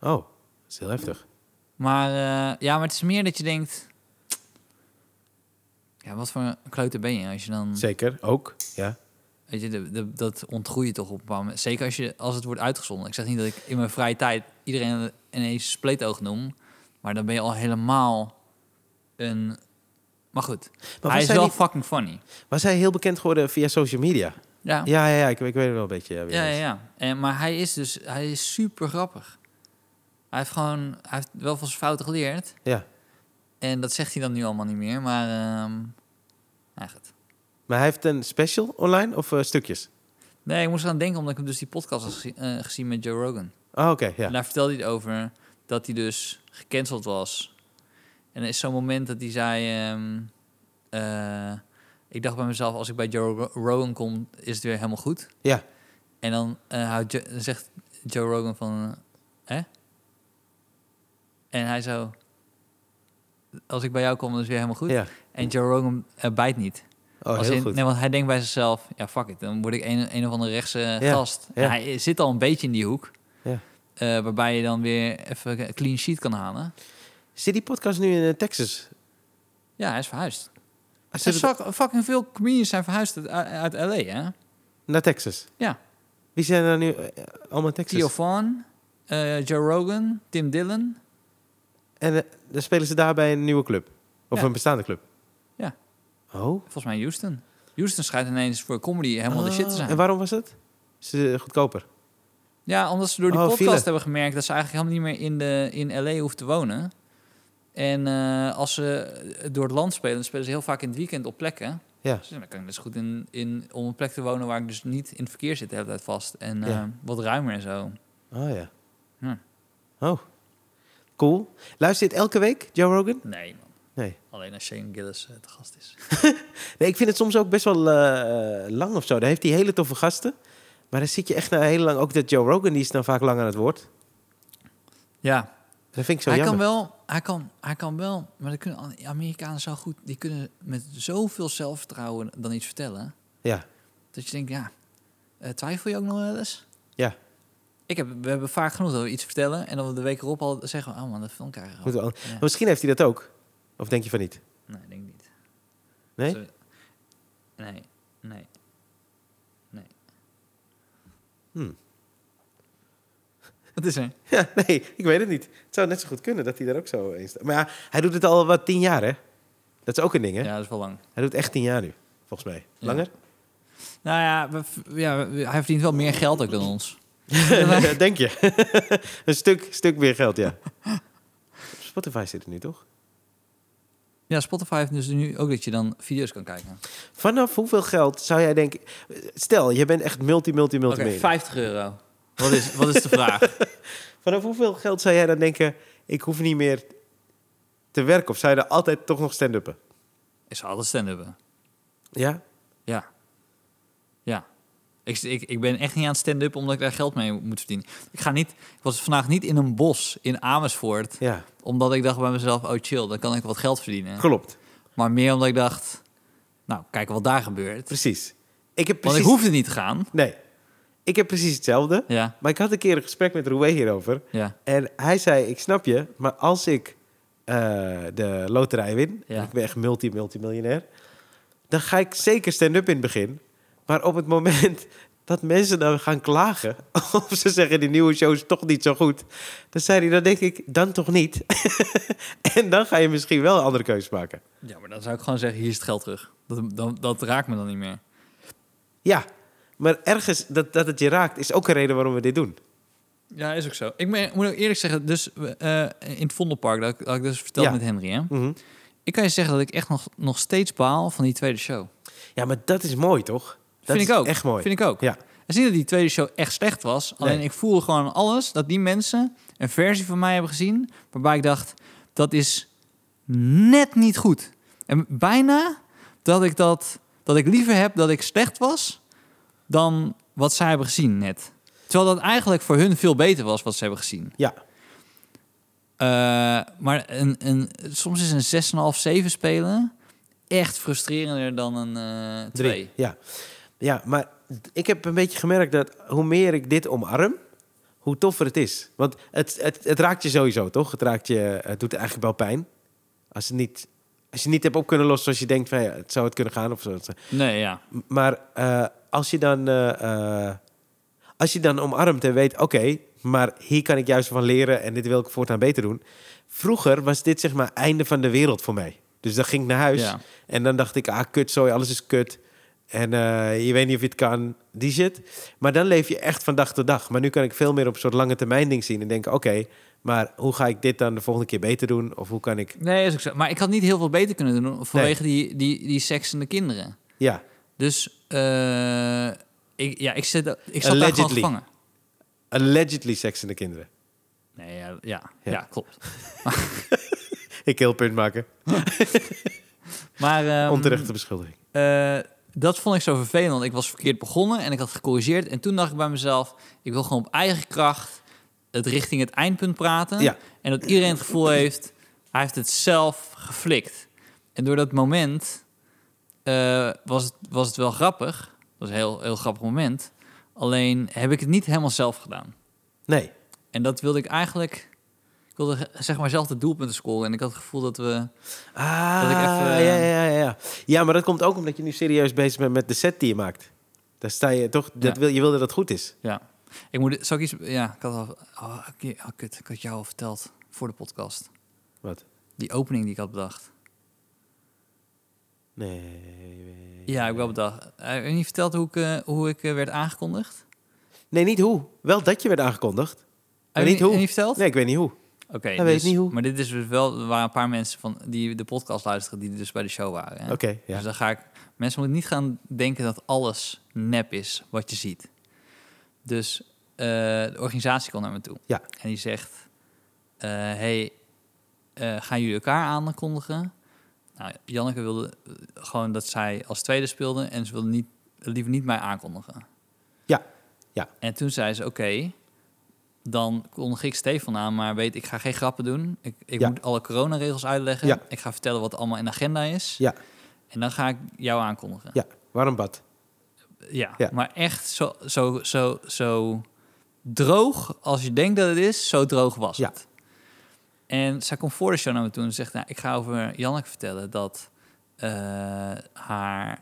A: oh. Dat is heel heftig.
B: Maar eh, ja, maar het is meer dat je denkt... Ja, wat voor een kleuter ben je als je dan...
A: Zeker, ook. Ja.
B: Weet je, de, de- dat ontgroei je toch op een bepaald moment. Zeker als, je, als het wordt uitgezonden. Ik zeg niet dat ik in mijn vrije tijd iedereen ineens spleetoog noem. Maar dan ben je al helemaal een... Maar goed,
A: was
B: hij is
A: hij
B: wel
A: niet-
B: fucking funny.
A: Was hij heel bekend geworden via social media?
B: Ja, ja,
A: Ja, ja, ja, ik, ik weet het wel een beetje. Ja, wie
B: ja.
A: het
B: ja,
A: is.
B: En, maar hij is dus hij is super grappig. Hij heeft gewoon... Hij heeft wel van zijn fouten geleerd.
A: Ja.
B: En dat zegt hij dan nu allemaal niet meer. Maar ehm nou goed.
A: Maar hij heeft een special online of eh, stukjes?
B: Nee, ik moest eraan denken omdat ik hem dus die podcast had gezien, eh, gezien met Joe Rogan.
A: Oh, oké, ja.
B: En daar vertelde hij het over dat hij dus gecanceld was. En er is zo'n moment dat hij zei... ehm, eh, ik dacht bij mezelf, als ik bij Joe Rog- Rogan kom, is het weer helemaal goed.
A: Ja.
B: En dan eh, houdt Jo- dan zegt Joe Rogan van... eh, Hè? En hij zo... Als ik bij jou kom, dan is het weer helemaal goed.
A: ja.
B: En Joe Rogan eh, bijt niet.
A: Oh, heel
B: Als in- nou-
A: goed.
B: Nee, want hij denkt bij zichzelf, ja, fuck it. Dan word ik een, een of andere rechtse
A: Ja,
B: gast.
A: ja.
B: En hij zit al een beetje in die hoek.
A: Ja.
B: Eh, waarbij je dan weer even een clean sheet kan halen.
A: Zit die podcast nu in eh, Texas?
B: Ja, hij is verhuisd. Er
A: Zit
B: zijn
A: het-
B: zak- fucking veel comedians zijn verhuisd uit, uit L.A., hè?
A: Naar Texas?
B: Ja.
A: Wie zijn er nu eh, allemaal in Texas?
B: Theo Vaughn, eh, Joe Rogan, Tim Dillon.
A: En eh, dan spelen ze daar bij een nieuwe club? Of
B: Ja.
A: een bestaande club?
B: Ja.
A: Oh.
B: Volgens mij Houston. Houston schijnt ineens voor comedy helemaal de shit te
A: Oh,
B: zijn.
A: En waarom was dat? Is eh, goedkoper?
B: Ja, omdat ze door die
A: Oh,
B: podcast
A: file.
B: hebben gemerkt dat ze eigenlijk helemaal niet meer in, de, in LA hoeven te wonen. En eh, als ze door het land spelen, dan spelen ze heel vaak in het weekend op plekken.
A: Ja.
B: Dus ja, dan kan ik dus goed in, in, om een plek te wonen waar ik dus niet in het verkeer zit de hele tijd vast. En
A: Ja.
B: eh, wat ruimer en zo.
A: Oh ja.
B: Ja.
A: Oh. Cool. Luister je het elke week, Joe Rogan?
B: Nee, man.
A: Nee.
B: Alleen als Shane Gillis eh, te gast is.
A: Nee, ik vind het soms ook best wel eh, lang of zo. Daar heeft hij hele toffe gasten. Maar dan zit je echt na heel lang... Ook dat Joe Rogan, die is dan vaak lang aan het woord.
B: Ja,
A: Dat vind ik zo
B: Hij kan
A: jammer.
B: wel, hij kan, hij kan wel, maar dat kunnen Amerikanen zo goed. Die kunnen met zoveel zelfvertrouwen dan iets vertellen.
A: Ja,
B: Dat je denkt, ja, eh, twijfel je ook nog wel eens?
A: ja.
B: Ik heb, we hebben vaak genoeg dat we iets vertellen en dan de week erop al zeggen we, oh man, dat film krijgen we.
A: Goed wel.
B: Ja.
A: Maar Misschien heeft hij dat ook. Of denk je van niet?
B: Nee, ik denk niet.
A: Nee?
B: Zo- nee, nee.
A: Hmm.
B: Wat is er?
A: Ja, nee, ik weet het niet. Het zou net zo goed kunnen dat hij daar ook zo in staat. Maar ja, hij doet het al wat tien jaar, hè? Dat is ook een ding, hè?
B: Ja, dat is wel lang.
A: Hij doet echt tien jaar nu, volgens mij.
B: Ja.
A: Langer?
B: Nou ja, we, ja we- hij verdient wel meer geld ook dan ons.
A: Denk je? een stuk, stuk meer geld, ja. Op Spotify zit het nu, toch?
B: Ja, Spotify heeft dus nu ook dat je dan video's kan kijken.
A: Vanaf hoeveel geld zou jij denken... Stel, je bent echt multi, multi,
B: Oké,
A: multi
B: 50 euro. Wat is, wat is de vraag?
A: Vanaf hoeveel geld zou jij dan denken... ik hoef niet meer te werken? Of zou je er altijd toch nog stand-uppen?
B: Is alles stand-uppen?
A: Ja?
B: Ja. Ja. Ik, ik, ik ben echt niet aan het stand-up omdat ik daar geld mee moet verdienen. Ik, ga niet, ik was vandaag niet in een bos in Amersfoort.
A: Ja,
B: Omdat ik dacht bij mezelf, oh chill, dan kan ik wat geld verdienen.
A: klopt.
B: Maar meer omdat ik dacht, nou, kijk wat daar gebeurt.
A: Precies. Ik heb
B: Want ik
A: precies...
B: hoefde niet te gaan.
A: Nee. Ik heb precies hetzelfde.
B: Ja,
A: Maar ik had een keer een gesprek met Roué hierover.
B: ja.
A: En hij zei, ik snap je, maar als ik eh, de loterij win...
B: Ja.
A: ik ben echt multi-multimiljonair... dan ga ik zeker stand-up in het begin. Maar op het moment dat mensen dan gaan klagen... of ze zeggen, die nieuwe show is toch niet zo goed... dan zei hij, dan denk ik, dan toch niet. en dan ga je misschien wel een andere keuzes maken.
B: Ja, maar dan zou ik gewoon zeggen, hier is het geld terug. Dat, dan, dat raakt me dan niet meer.
A: Ja, maar ergens dat, dat het je raakt... is ook een reden waarom we dit doen.
B: Ja, is ook zo. Ik ben, moet ook eerlijk zeggen, dus we, eh, in het Vondelpark, dat ik, dat ik dus vertelde
A: Ja.
B: met Henry, hè.
A: Mhm.
B: Ik kan je zeggen dat ik echt nog, nog steeds baal van die tweede show.
A: Ja, maar dat is mooi, toch? Dat
B: Vind
A: is
B: ik ook.
A: echt mooi.
B: Vind ik ook.
A: Ja.
B: Het is niet dat die tweede show echt slecht was. Alleen
A: Nee.
B: ik voelde gewoon aan alles dat die mensen een versie van mij hebben gezien... waarbij ik dacht, dat is net niet goed. En bijna dat ik, dat, dat ik liever heb dat ik slecht was... dan wat zij hebben gezien net. Terwijl dat eigenlijk voor hun veel beter was wat ze hebben gezien.
A: Ja,
B: Eh, maar een, een, soms is een 6,5, 7 spelen echt frustrerender dan een eh 2.
A: drie. Ja. ja, maar d- ik heb een beetje gemerkt dat hoe meer ik dit omarm, hoe toffer het is. Want het, het, het raakt je sowieso, toch? Het, raakt je, het doet eigenlijk wel pijn. Als, het niet, als je het niet hebt op kunnen lossen zoals je denkt van ja, het zou het kunnen gaan of zo.
B: Nee, ja.
A: M- Maar eh, als je dan. eh, eh, als je dan omarmt en weet, oké, maar hier kan ik juist van leren en dit wil ik voortaan beter doen. Vroeger was dit zeg maar einde van de wereld voor mij. Dus dan ging ik naar huis
B: Ja.
A: en dan dacht ik, ah, kut, zo, alles is kut. En eh, je weet niet of je het kan, die shit. Maar dan leef je echt van dag tot dag. Maar nu kan ik veel meer op een soort lange termijn ding zien en denken, oké, maar hoe ga ik dit dan de volgende keer beter doen? Of hoe kan ik,
B: Nee, is ook zo. Maar ik had niet heel veel beter kunnen doen vanwege die, die, die seks en de kinderen.
A: ja,
B: Dus eh, ik, ja, ik zit, ik zat daar
A: Allegedly.
B: gewoon gevangen.
A: allegedly seks in de kinderen.
B: Nee, ja, ja,
A: Ja.
B: ja. klopt.
A: Ik heel punt maken,
B: Maar ehm,
A: onterechte beschuldiging.
B: eh, dat vond ik zo vervelend, want ik was verkeerd begonnen en ik had gecorrigeerd. En toen dacht ik bij mezelf, ik wil gewoon op eigen kracht het richting het eindpunt praten.
A: Ja.
B: En dat iedereen het gevoel heeft, hij heeft het zelf geflikt. En door dat moment eh, was, het, was het wel grappig. Het was een heel, heel grappig moment. Alleen heb ik het niet helemaal zelf gedaan.
A: Nee.
B: En dat wilde ik eigenlijk... Ik wilde eh, zeg maar zelf de doelpunten scoren. En ik had het gevoel dat we...
A: Ah,
B: Dat ik even- ehm,
A: ja, ja, ja, ja. Ja, maar dat komt ook omdat je nu serieus bezig bent met de set die je maakt. Daar sta je toch, dat
B: Ja.
A: wil, je wil dat het goed is.
B: Ja. Ik moet... Zou ik iets... Ja, ik had al... Oh, ik- oh, kut. Ik had jou al verteld voor de podcast.
A: Wat?
B: Die opening die ik had bedacht.
A: Nee.
B: Ja, ik heb wel bedacht. Eh, Heb je niet verteld hoe ik, eh, hoe ik eh, werd aangekondigd?
A: Nee, niet hoe. Wel dat je werd aangekondigd. Maar
B: Heb je
A: niet hoe.
B: heb je verteld?
A: Nee, ik weet niet hoe. Dat
B: Oké.
A: weet ik
B: dus-
A: niet hoe.
B: Maar dit is dus wel... Er waren een paar mensen van, die de podcast luisteren die dus bij de show waren. hè?
A: Oké, ja.
B: Dus dan ga ik... Mensen moeten niet gaan denken dat alles nep is wat je ziet. Dus eh, de organisatie kwam naar me toe.
A: Ja.
B: En die zegt... eh, hey, eh, gaan jullie elkaar aankondigen? Nou, Janneke wilde eh, gewoon dat zij als tweede speelde... en ze wilde niet, liever niet mij aankondigen.
A: Ja, ja.
B: En toen zei ze, oké, dan kondig ik Stefan aan, maar weet ik ga geen grappen doen. Ik, ik
A: Ja.
B: moet alle coronaregels uitleggen.
A: Ja.
B: Ik ga vertellen wat allemaal in de agenda is.
A: Ja.
B: En dan ga ik jou aankondigen.
A: Ja, warm bad.
B: Ja,
A: Ja.
B: maar echt zo, zo, zo, zo droog als je denkt dat het is, zo droog was
A: Ja.
B: het. En zij komt voor de show naar me toe en zegt, nou, ik ga over Janneke vertellen dat eh, haar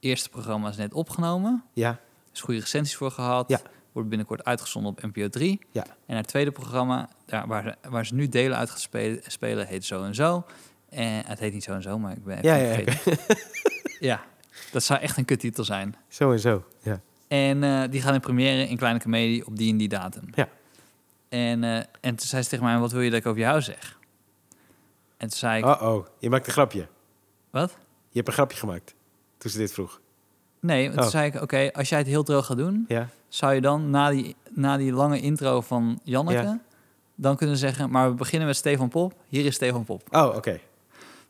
B: eerste programma is net opgenomen.
A: Ja,
B: Er is goede recensies voor gehad.
A: Ja.
B: Wordt binnenkort uitgezonden op NPO 3.
A: Ja.
B: En haar tweede programma, daar, waar, ze, waar ze nu delen uit gaat spelen, spelen, heet Zo en Zo. En het heet niet Zo en Zo, maar ik ben even
A: Ja, ja,
B: vergeten. ja, dat zou echt een kuttitel zijn.
A: zo en zo. Ja.
B: En eh, die gaan in première in Kleine Comedie op die en die datum.
A: Ja.
B: En, eh, en toen zei ze tegen mij, wat wil je dat ik over jou zeg? En toen zei ik,
A: Uh-oh, Oh, je maakt een grapje.
B: wat?
A: Je hebt een grapje gemaakt toen ze dit vroeg.
B: Nee, en toen
A: Oh.
B: zei ik, oké, als jij het heel droog gaat doen...
A: Ja,
B: zou je dan na die, na die lange intro van Janneke...
A: Ja.
B: dan kunnen zeggen, maar we beginnen met Stefan Pop. Hier is Stefan Pop.
A: oh, oké.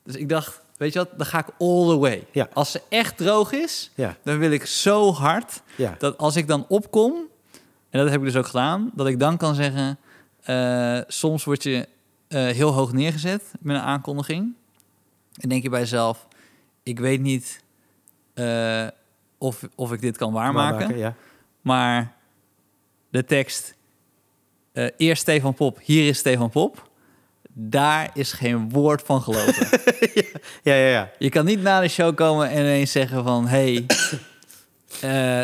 B: Dus ik dacht, weet je wat, dan ga ik all the way.
A: Ja.
B: Als ze echt droog is,
A: Ja,
B: dan wil ik zo hard...
A: ja.
B: dat als ik dan opkom, en dat heb ik dus ook gedaan, dat ik dan kan zeggen: eh, soms word je eh, heel hoog neergezet met een aankondiging. En denk je bij jezelf: ik weet niet eh, of, of ik dit kan waarmaken,
A: Ja.
B: maar de tekst: eh, eerst Stefan Pop, hier is Stefan Pop. Daar is geen woord van gelopen.
A: ja, ja, ja.
B: je kan niet na de show komen en ineens zeggen van... hey, eh,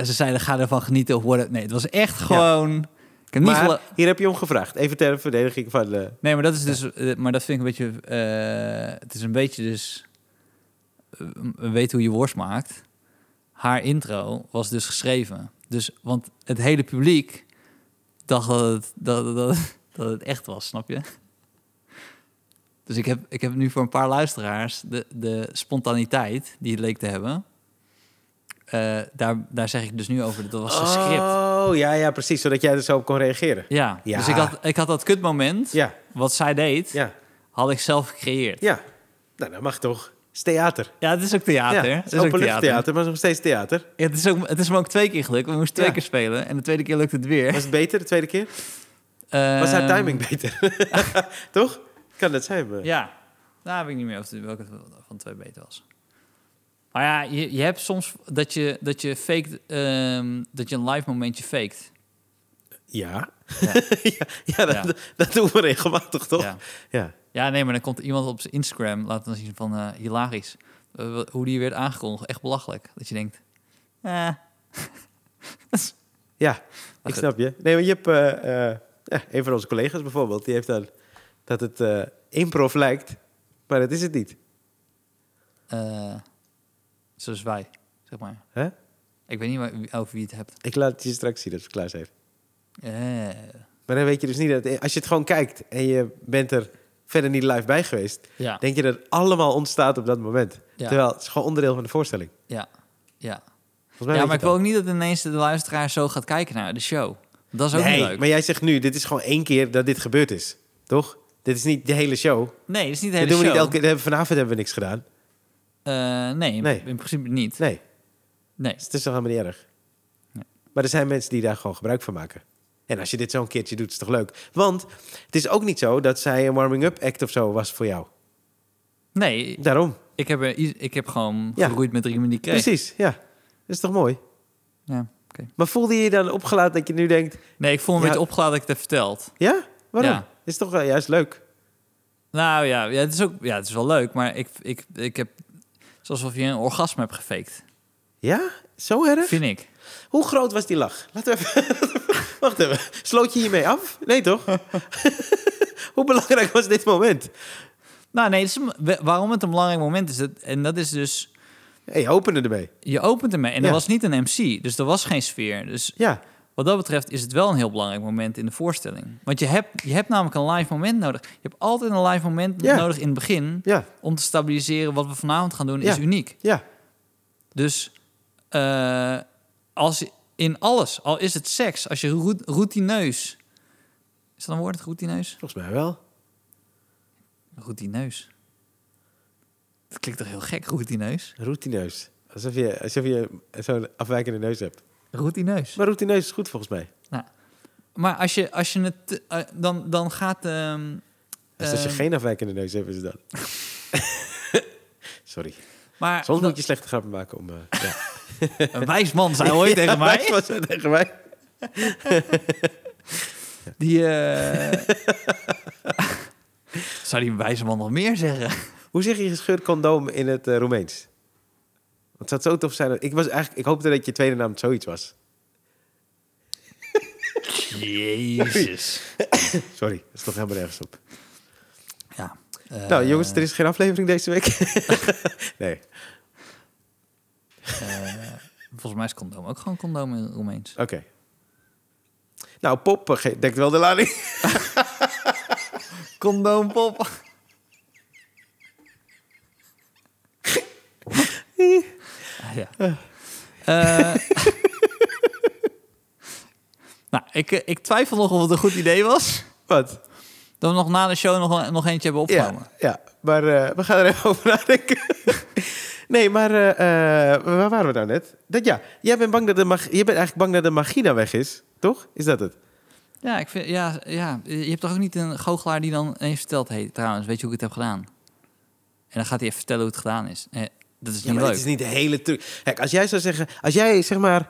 B: ze zeiden ga ervan genieten of what it- Nee, het was echt gewoon... Ik heb niet gelo-
A: Maar hier heb je om gevraagd. Even ter verdediging van... eh,
B: Nee, maar dat is dus. eh, Maar dat vind ik een beetje. eh, het is een beetje dus. eh, weet hoe je worst maakt. Haar intro was dus geschreven. Dus, want het hele publiek dacht dat het, dat, dat, dat het echt was, snap je? Dus ik heb, ik heb nu voor een paar luisteraars de, de spontaniteit die het leek te hebben. eh, daar, daar zeg ik dus nu over. Dat was een script.
A: Oh, ja, ja, precies. Zodat jij er zo op kon reageren.
B: Ja,
A: Ja.
B: dus ik had, ik had dat kutmoment,
A: Ja,
B: wat zij deed,
A: ja,
B: had ik zelf gecreëerd.
A: ja. Nou, dat mag toch. Het is theater.
B: Ja, het is ook theater.
A: ja,
B: het is ook theater.
A: theater, maar nog steeds theater.
B: Ja, het, is ook, het is me ook twee keer gelukt. We moesten twee
A: Ja.
B: keer spelen en de tweede keer lukt het weer.
A: Was het beter de tweede keer? Was haar
B: Ehm,
A: timing beter? toch? Kan dat zijn. maar-
B: Ja, daar weet ik niet meer of het, welke van de twee beter was. Maar ja, je, je hebt soms dat je, dat je faked, ehm, dat je een live momentje faked.
A: Ja.
B: Ja.
A: Ja, ja, dat,
B: Ja.
A: dat doen we regelmatig, toch?
B: Ja.
A: Ja.
B: ja, nee, maar dan komt iemand op zijn Instagram, laat dan zien van eh, hilarisch. Eh, wa- hoe die werd aangekondigd. Echt belachelijk. Dat je denkt, eh,
A: Ja,
B: goed.
A: ik snap je. Nee, maar je hebt... eh, eh, ja, een van onze collega's bijvoorbeeld, die heeft dan... Dat het eh, improv lijkt, maar dat is het niet.
B: eh, zoals wij, zeg maar.
A: Hè?
B: Ik weet niet waar, over wie je het hebt.
A: Ik laat het je straks zien als we klaar zijn.
B: Eh,
A: Maar dan weet je dus niet dat... Als je het gewoon kijkt en je bent er verder niet live bij geweest...
B: ja.
A: denk je dat het allemaal ontstaat op dat moment.
B: Ja.
A: Terwijl het is gewoon onderdeel van de voorstelling.
B: Ja, ja.
A: Volgens mij
B: ja
A: weet
B: maar ik
A: je
B: wil
A: het
B: ook niet dat ineens de luisteraar zo gaat kijken naar de show. Dat is
A: al.
B: ook
A: nee,
B: niet leuk.
A: maar jij zegt nu, dit is gewoon één keer dat dit gebeurd is. Toch? Dit is niet de hele show.
B: Nee, dat is niet de
A: Dat doen
B: hele
A: we
B: show.
A: niet elke keer. Dat hebben- Vanavond hebben we niks gedaan.
B: Eh, nee, in-
A: Nee.
B: in principe niet.
A: Nee,
B: Nee.
A: dus het is toch helemaal niet erg.
B: Nee.
A: Maar er zijn mensen die daar gewoon gebruik van maken. En als je dit zo'n keertje doet, is het toch leuk? Want het is ook niet zo dat zij een warming-up act of zo was voor jou.
B: Nee,
A: Daarom.
B: ik heb, er i- ik heb gewoon
A: Ja.
B: geroeid met drie minuten die ik kreeg.
A: Precies, ja. Dat is toch mooi?
B: Ja, oké.
A: Maar voelde je je dan opgelaten dat je nu denkt...
B: Nee, ik voel me een
A: Ja.
B: beetje opgeladen dat ik het heb verteld.
A: Ja? Waarom?
B: Ja.
A: Is toch wel juist leuk?
B: Nou ja, ja, het is ook, ja, het is wel leuk, maar ik, ik, ik heb... Het is alsof je een orgasme hebt gefaked.
A: Ja? Zo erg?
B: Vind ik.
A: Hoe groot was die lach? Laten we even... Wacht even. Sloot je hiermee af? Nee, toch? Hoe belangrijk was dit moment?
B: Nou nee, het is een- we- waarom het een belangrijk moment is... Dat, en dat is dus...
A: Hey, je opende ermee.
B: Je opent ermee. En er
A: Ja.
B: was niet een MC, dus er was geen sfeer. Dus
A: Ja.
B: Wat dat betreft is het wel een heel belangrijk moment in de voorstelling. Want je hebt, je hebt namelijk een live moment nodig. Je hebt altijd een live moment
A: Ja.
B: nodig in het begin...
A: Ja.
B: om te stabiliseren wat we vanavond gaan doen,
A: Ja.
B: is uniek.
A: Ja.
B: Dus eh, als je- in alles, al is het seks, als je roet- routineus... Is dat een woord, routineus?
A: Volgens mij wel.
B: Routineus. Dat klinkt toch heel gek, routineus?
A: Routineus. Alsof je, alsof je zo'n afwijkende neus hebt.
B: Routineus. Nou,
A: Maar routineus is goed volgens mij.
B: Maar als je, als je het... te- eh, dan, dan gaat... ehm,
A: Dus als je
B: ehm,
A: geen afwijkende neus hebt, is het dan. Sorry.
B: Ah, Maar
A: Soms
B: dan-
A: moet je slechte grappen maken om... eh, ja.
B: een wijs man zei ooit
A: Hij
B: tegen mij...
A: was het tegen mij.
B: Die... eh, zou die een wijze man nog meer zeggen?
A: Hoe zeg je gescheurd condoom in het eh, Roemeens? Want het zou zo tof zijn. dat- Ik, was eigenlijk, ik hoopte dat je tweede naam zoiets was.
B: Jezus.
A: Sorry, dat is toch helemaal nergens op.
B: Ja. eh,
A: nou, jongens, er is geen aflevering deze week. nee.
B: eh, volgens mij is condoom ook gewoon condoom in het Roemeens.
A: Oké. Nou, pop eh, ge- dekt wel de lading.
B: Condoompop. ah, ja. Eh, nou, ik, eh, ik twijfel nog of het een goed idee was.
A: Wat?
B: Dat we nog na de show nog, nog eentje hebben opgenomen.
A: Ja, ja. maar eh, we gaan er even over nadenken. nee, maar eh, eh, waar waren we nou net? Dat, ja, jij bent, bang dat de mag- jij bent eigenlijk bang dat de magie dan weg is, toch? Is dat het?
B: Ja, ik vind, ja, ja, je hebt toch ook niet een goochelaar die dan even vertelt... hey, trouwens, weet je hoe ik het heb gedaan? En dan gaat hij even vertellen hoe het gedaan is. Eh, dat is
A: Ja,
B: niet
A: maar
B: leuk.
A: het is niet de hele truc. Kijk, als jij zou zeggen, als jij zeg maar,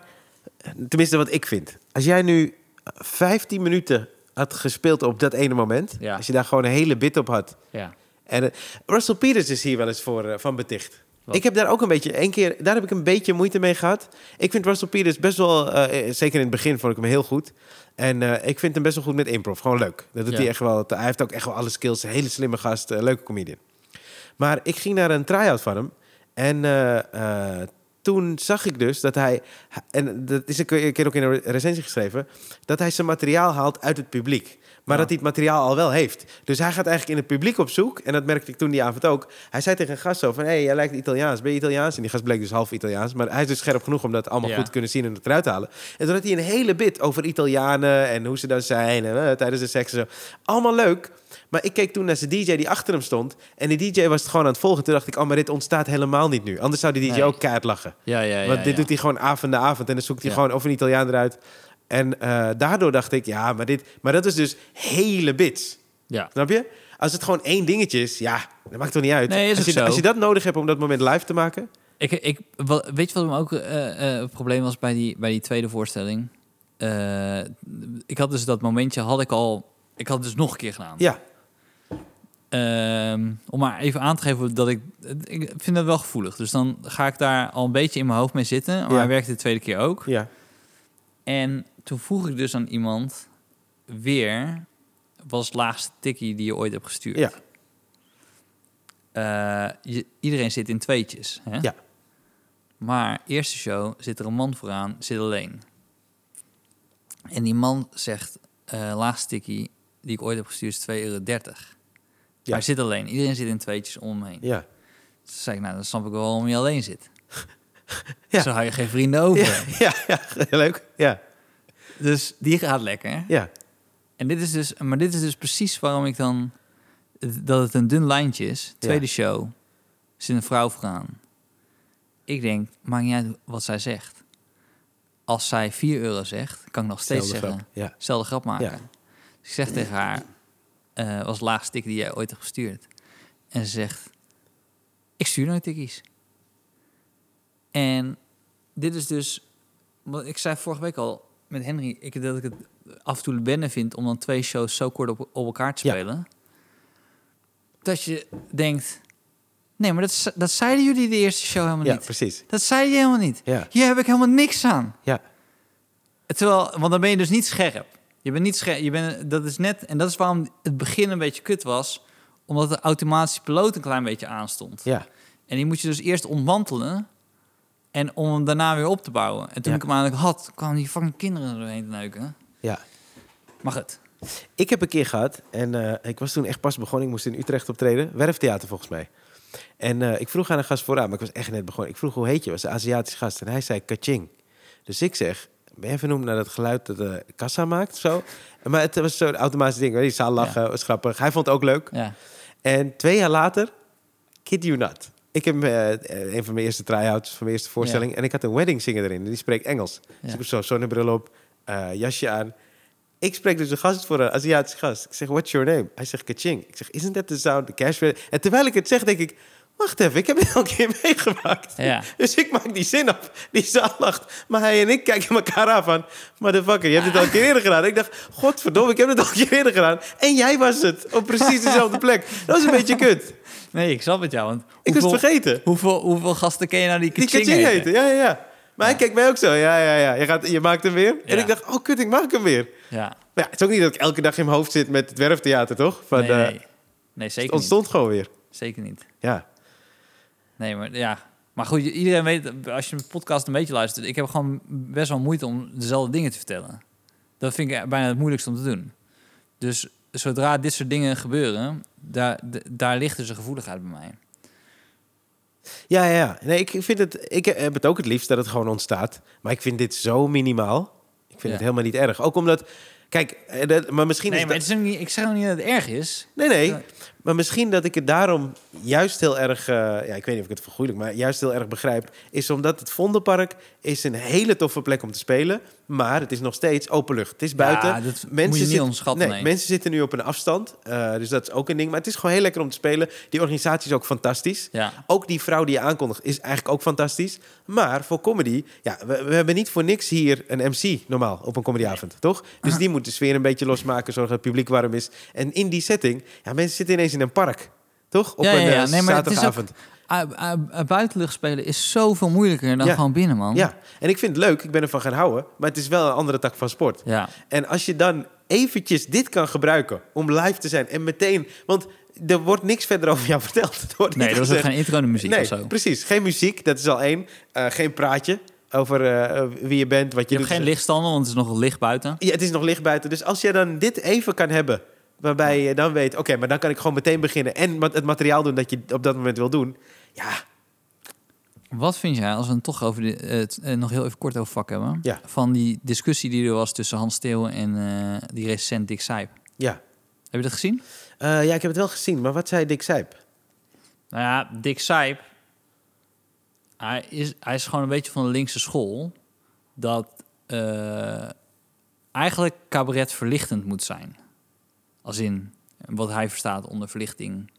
A: tenminste wat ik vind, als jij nu 15 minuten had gespeeld op dat ene moment,
B: Ja.
A: als je daar gewoon een hele bit op had.
B: Ja.
A: En, eh, Russell Peters is hier wel eens voor, eh, van beticht.
B: Wat?
A: Ik heb daar ook een beetje, één keer, daar heb ik een beetje moeite mee gehad. Ik vind Russell Peters best wel, eh, eh, zeker in het begin vond ik hem heel goed. En eh, ik vind hem best wel goed met improv, gewoon leuk. Dat doet
B: Ja.
A: hij echt wel. Hij heeft ook echt wel alle skills, een hele slimme gast, eh, leuke comedian. Maar ik ging naar een try-out van hem. En eh, eh, toen zag ik dus dat hij... En dat is een keer een keer ook in een recensie geschreven... dat hij zijn materiaal haalt uit het publiek. Maar
B: Ja.
A: dat hij het materiaal al wel heeft. Dus hij gaat eigenlijk in het publiek op zoek. En dat merkte ik toen die avond ook. Hij zei tegen een gast zo van... Hé, hey, jij lijkt Italiaans. Ben je Italiaans? En die gast bleek dus half Italiaans. Maar hij is dus scherp genoeg om dat allemaal
B: Ja.
A: goed te kunnen zien en het eruit te halen. En toen had hij een hele bit over Italianen en hoe ze dan zijn. En eh, tijdens de seks en zo. Allemaal leuk. Maar ik keek toen naar zijn DJ die achter hem stond. En die DJ was het gewoon aan het volgen. Toen dacht ik, oh, maar dit ontstaat helemaal niet nu. Anders zou die DJ
B: Nee.
A: ook keihard lachen.
B: Ja, ja, ja.
A: Want dit
B: ja.
A: doet hij gewoon avond na avond. En dan zoekt hij
B: Ja.
A: gewoon of een Italiaan eruit. En eh, daardoor dacht ik, ja, maar, dit, maar dat is dus hele bits.
B: Ja.
A: Snap je? Als het gewoon één dingetje is, ja, dat maakt toch niet uit.
B: Nee, is
A: als,
B: ook
A: je,
B: zo.
A: als je dat nodig hebt om dat moment live te maken.
B: Ik, ik, wa- weet je wat me ook eh, eh, het probleem was bij die, bij die tweede voorstelling? Eh, ik had dus dat momentje, had ik al, ik had het dus nog een keer gedaan.
A: Ja,
B: Ehm, om maar even aan te geven dat ik, ik vind dat wel gevoelig. Dus dan ga ik daar al een beetje in mijn hoofd mee zitten. Maar
A: Ja.
B: hij werkte de tweede keer ook.
A: ja.
B: En toen vroeg ik dus aan iemand weer, was het laagste tikkie die je ooit hebt gestuurd?
A: Ja.
B: Eh, je- iedereen zit in tweetjes. Hè?
A: Ja.
B: Maar eerste show zit er een man vooraan, zit alleen. En die man zegt, eh laagste tikkie die ik ooit heb gestuurd is 2,30 euro.
A: Ja.
B: Maar hij zit alleen. Iedereen zit in tweetjes om hem heen.
A: ja.
B: Toen zei ik, nou, dan snap ik wel waarom je alleen zit.
A: Ja.
B: Zo hou je geen vrienden over.
A: Ja, ja, ja, leuk. Ja,
B: Dus die gaat lekker.
A: ja.
B: En dit is dus, maar dit is dus precies waarom ik dan dat het een dun lijntje is. Tweede show zit een vrouw vooraan. Ik denk, maakt niet uit wat zij zegt. Als zij 4 euro zegt, kan ik nog steeds
A: Hetzelfde
B: zeggen,
A: grap. Ja.
B: zelfde grap maken.
A: Ja.
B: Dus ik zeg tegen haar, eh was de laagste tik die jij ooit hebt gestuurd. En ze zegt, ik stuur nooit tikkies. En dit is dus, wat ik zei vorige week al met Henry, ik, dat ik het af en toe wennen vind om dan twee shows zo kort op, op elkaar te
A: Ja.
B: spelen. Dat je denkt, nee, maar dat, ze- dat zeiden jullie de eerste show helemaal
A: Ja,
B: niet.
A: precies.
B: Dat zei je helemaal niet.
A: Ja.
B: Hier heb ik helemaal niks aan.
A: Ja.
B: Terwijl, want dan ben je dus niet scherp. Je bent niet scherp. Je bent, dat is net, en dat is waarom het begin een beetje kut was. Omdat de automatische piloot een klein beetje aanstond.
A: Ja.
B: En die moet je dus eerst ontmantelen. En om hem daarna weer op te bouwen. En toen
A: Ja.
B: ik hem eigenlijk had, kwamen die fucking kinderen er doorheen te neuken.
A: Ja.
B: Mag het?
A: Ik heb een keer gehad, en eh, ik was toen echt pas begonnen. Ik moest in Utrecht optreden. Werftheater volgens mij. En eh, ik vroeg aan een gast vooraan, maar ik was echt net begonnen. Ik vroeg, hoe heet je? was een Aziatisch gast. En hij zei, kaching. Dus ik zeg, ben je vernoemd naar dat geluid dat de kassa maakt of zo? Maar het was zo'n automatisch ding. Die zaal lachen, was grappig. Hij vond het ook leuk.
B: Ja.
A: En twee jaar later, kid you not. Ik heb eh, een van mijn eerste try-outs, van mijn eerste voorstelling. En ik had een wedding singer erin. En die spreekt Engels. Dus
B: Ja.
A: ik heb zo zonnebril op, eh, jasje aan. Ik spreek dus een gast voor een Aziatische gast. Ik zeg, what's your name? Hij zegt, kaching. Ik zeg, isn't that the sound the cash register? En terwijl ik het zeg, denk ik, wacht even, ik heb dit al een keer meegemaakt.
B: Ja.
A: Dus ik maak die zin op. Die zaal lacht. Maar hij en ik kijken elkaar aan van... Motherfucker, je hebt dit al een keer eerder gedaan. Ik dacht, godverdomme, ik heb dit al een keer eerder gedaan. En jij was het. Op precies dezelfde plek. Dat is een beetje kut.
B: Nee, ik snap het jou. Want
A: Ik was
B: hoeveel-
A: het vergeten.
B: Hoeveel, hoeveel gasten ken je nou die
A: Die
B: kaching
A: kaching
B: heten?
A: heette. Ja, ja, ja. Maar hij kijkt mij ook zo. Ja, ja, ja. Je, gaat, je maakt hem weer. En
B: Ja.
A: ik dacht, oh kut, ik maak hem weer.
B: Ja,
A: Maar ja, het is ook niet dat ik elke dag in mijn hoofd zit met het werftheater, toch? Van,
B: nee,
A: eh,
B: nee. nee
A: het
B: zeker, niet.
A: ontstond gewoon weer.
B: zeker niet.
A: Ja.
B: Nee, maar ja. Maar goed, iedereen weet, als je een podcast een beetje luistert, ik heb gewoon best wel moeite om dezelfde dingen te vertellen. Dat vind ik bijna het moeilijkste om te doen. Dus zodra dit soort dingen gebeuren, daar, d- daar ligt dus een gevoeligheid bij mij.
A: Ja, ja, ja. Nee, ik vind het. Ik heb het ook het liefst dat het gewoon ontstaat. Maar ik vind dit zo minimaal. Ik vind
B: Ja.
A: het helemaal niet erg. Ook omdat. Kijk, eh, dat- maar misschien
B: Nee,
A: is
B: maar
A: dat.
B: het is ook niet, ik zeg ook niet dat het erg is.
A: Nee, nee.
B: Ja.
A: Maar misschien dat ik het daarom juist heel erg... eh, ja, ik weet niet of ik het vergoeilijk, maar juist heel erg begrijp... is omdat het Vondelpark is een hele toffe plek om te spelen... maar het is nog steeds openlucht. Het is buiten.
B: Ja, dat moet je niet
A: zitten-
B: onderschatten, nee.
A: Mensen zitten nu op een afstand, eh, dus dat is ook een ding. Maar het is gewoon heel lekker om te spelen. Die organisatie is ook fantastisch.
B: Ja,
A: Ook die vrouw die je aankondigt is eigenlijk ook fantastisch. Maar voor comedy, ja, we, we hebben niet voor niks hier een MC normaal op een comedyavond, toch? Dus die moet de sfeer een beetje losmaken, zorgen dat het publiek warm is. En in die setting, ja, mensen zitten ineens in een park, toch? Op
B: Ja,
A: een
B: ja, ja.
A: eh,
B: Nee, maar het is ook-
A: zaterdagavond.
B: Ah, ah, ah, buitenlucht spelen is zoveel moeilijker dan
A: Ja.
B: gewoon binnen, man.
A: Ja, en ik vind het leuk, ik ben ervan gaan houden, maar het is wel een andere tak van sport.
B: ja.
A: En als je dan eventjes dit kan gebruiken om live te zijn en meteen, want er wordt niks verder over jou verteld. Er wordt
B: Nee,
A: niet
B: dat was ook
A: gezegd-
B: geen intro de muziek
A: nee,
B: of zo.
A: precies. Geen muziek, dat is al één. Eh, geen praatje over eh, eh, wie je bent, wat je,
B: Je hebt
A: doet.
B: geen lichtstanden, want het is nog licht buiten.
A: Ja, het is nog licht buiten. Dus als je dan dit even kan hebben, waarbij je dan weet... oké, maar dan kan ik gewoon meteen beginnen... en ma- het materiaal doen dat je op dat moment wil doen. Ja,
B: Wat vind jij, als we het toch over de, eh, het eh, nog heel even kort over vak hebben...
A: Ja.
B: van die discussie die er was tussen Hans Steeuw en eh, die recent Dick Sijp.
A: ja.
B: Heb je dat gezien?
A: Eh, ja, ik heb het wel gezien, maar wat zei Dick Sijp?
B: Nou ja, Dick Sijp, hij is, hij is gewoon een beetje van de linkse school... dat eh, eigenlijk cabaret verlichtend moet zijn. Als in wat hij verstaat onder verlichting.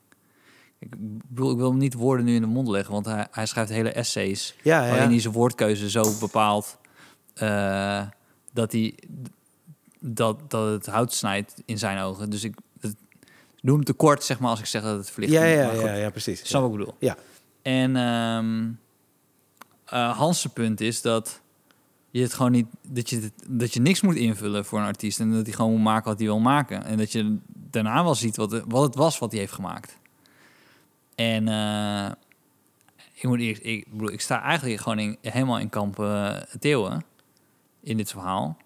B: Ik bedoel, ik wil hem niet woorden nu in de mond leggen, want hij, hij schrijft hele essays...
A: Ja, ja,
B: Waarin
A: ja.
B: hij zijn woordkeuze zo bepaalt eh, dat, hij, dat, dat het hout snijdt in zijn ogen. Dus ik het, doe hem tekort, zeg maar, als ik zeg dat het verlicht
A: Ja,
B: is.
A: ja,
B: Maar goed,
A: ja, ja, precies.
B: Snap wat ik bedoel?
A: Ja.
B: En ehm eh, Hans' zijn punt is dat je het gewoon niet dat je, het- dat je niks moet invullen voor een artiest en dat hij gewoon moet maken wat hij wil maken en dat je daarna wel ziet wat, het- wat het was wat hij heeft gemaakt. En eh, ik moet eerst, ik bedoel, ik sta eigenlijk gewoon in, helemaal in kamp eh Theeuwen in dit verhaal.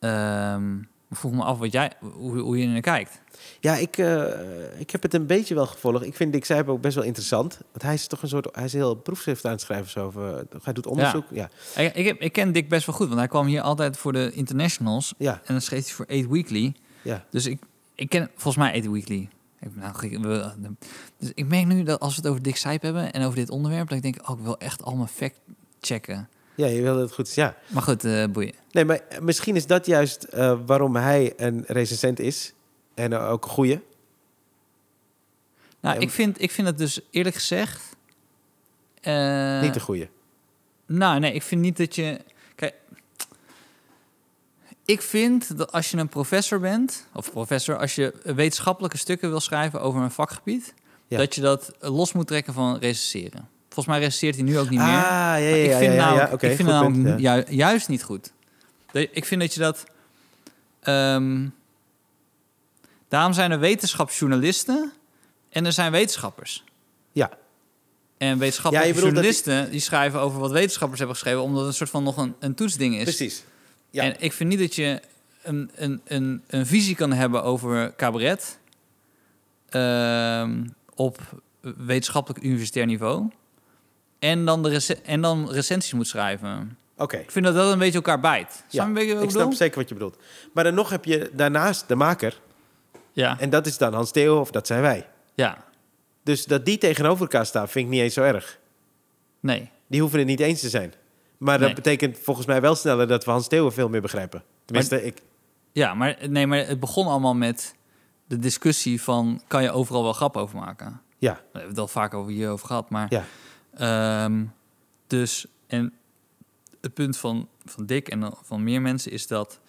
B: Ehm, ik vroeg me af wat jij, hoe, hoe je er naar kijkt.
A: Ja, ik, eh, ik heb het een beetje wel gevolgd. Ik vind Dick Sijp ook best wel interessant. Want hij is toch een soort... Hij is heel proefschrift aan het schrijven. Zo, of, eh, hij doet onderzoek. Ja,
B: Ik, ik, heb, ik ken Dick best wel goed, want hij kwam hier altijd voor de internationals
A: ja,
B: En dan schreef hij voor 8 Weekly.
A: ja.
B: Dus ik, ik ken volgens mij 8 Weekly. Ik, ben nou, ik- we- dus ik merk nu dat als we het over Dick Sijp hebben en over dit onderwerp, dat ik denk, oh, ik wil echt allemaal fact checken.
A: Ja, je wilde het goed. Ja.
B: Maar goed, eh, boeien.
A: Nee, maar eh, misschien is dat juist eh, waarom hij een recensent is. En eh, ook een goeie.
B: Nou,
A: Ja,
B: ik vind, ik vind het dus eerlijk gezegd. eh,
A: Niet een goeie.
B: Nou, nee, ik vind niet dat je. Kijk, ik vind dat als je een professor bent, of professor, als je wetenschappelijke stukken wil schrijven over een vakgebied,
A: Ja.
B: dat je dat los moet trekken van recenseren. Volgens mij recenseert hij nu ook niet
A: ah,
B: meer.
A: ja, ja,
B: Maar
A: ja.
B: ik vind
A: ja, ja,
B: namelijk-
A: ja. Oké,
B: ik vind
A: goed
B: namelijk
A: punt, ja.
B: ju- juist niet goed. Dat- Ik vind dat je dat. ehm, daarom zijn er wetenschapsjournalisten en er zijn wetenschappers.
A: Ja.
B: En
A: Ja,
B: wetenschappelijke
A: je bedoelt dat die-
B: journalisten die... schrijven over wat wetenschappers hebben geschreven, omdat het een soort van nog een, een toetsding is.
A: Precies. Ja.
B: En ik vind niet dat je een, een, een, een visie kan hebben over cabaret ehm, op wetenschappelijk universitair niveau. En dan, de rece- en dan recensies moet schrijven.
A: Oké.
B: Ik vind dat dat een beetje elkaar bijt. Snap je
A: Ja,
B: een beetje wat ik
A: Ik snap
B: bedoel?
A: zeker wat je bedoelt. Maar dan nog heb je daarnaast de maker.
B: Ja,
A: En dat is dan Hans Theo of dat zijn wij.
B: ja,
A: Dus dat die tegenover elkaar staan vind ik niet eens zo erg.
B: nee.
A: Die hoeven het niet eens te zijn. Maar dat
B: Nee.
A: betekent volgens mij wel sneller dat we Hans Theo veel meer begrijpen. Tenminste, ik.
B: Ja, maar, nee, maar het begon allemaal met de discussie van... kan je overal wel grap over maken?
A: Ja.
B: We hebben het al vaak over hierover gehad, maar...
A: Ja.
B: Ehm, dus, en het punt van, van Dick en van meer mensen is dat...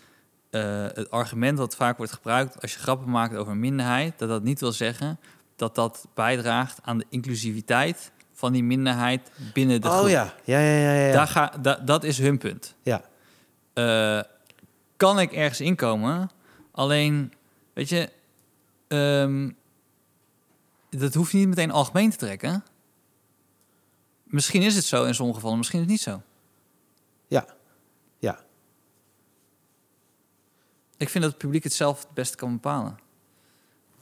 B: eh, het argument dat vaak wordt gebruikt als je grappen maakt over een minderheid... dat dat niet wil zeggen dat dat bijdraagt aan de inclusiviteit van die minderheid binnen de
A: Oh
B: groep.
A: ja, ja, ja, ja. ja.
B: Daar ga, da- dat is hun punt.
A: Ja.
B: Eh, kan ik ergens inkomen? Alleen, weet je, ehm, dat hoeft niet meteen algemeen te trekken. Misschien is het zo in sommige gevallen, misschien is het niet zo.
A: ja. ja.
B: Ik vind dat het publiek het zelf het beste kan bepalen.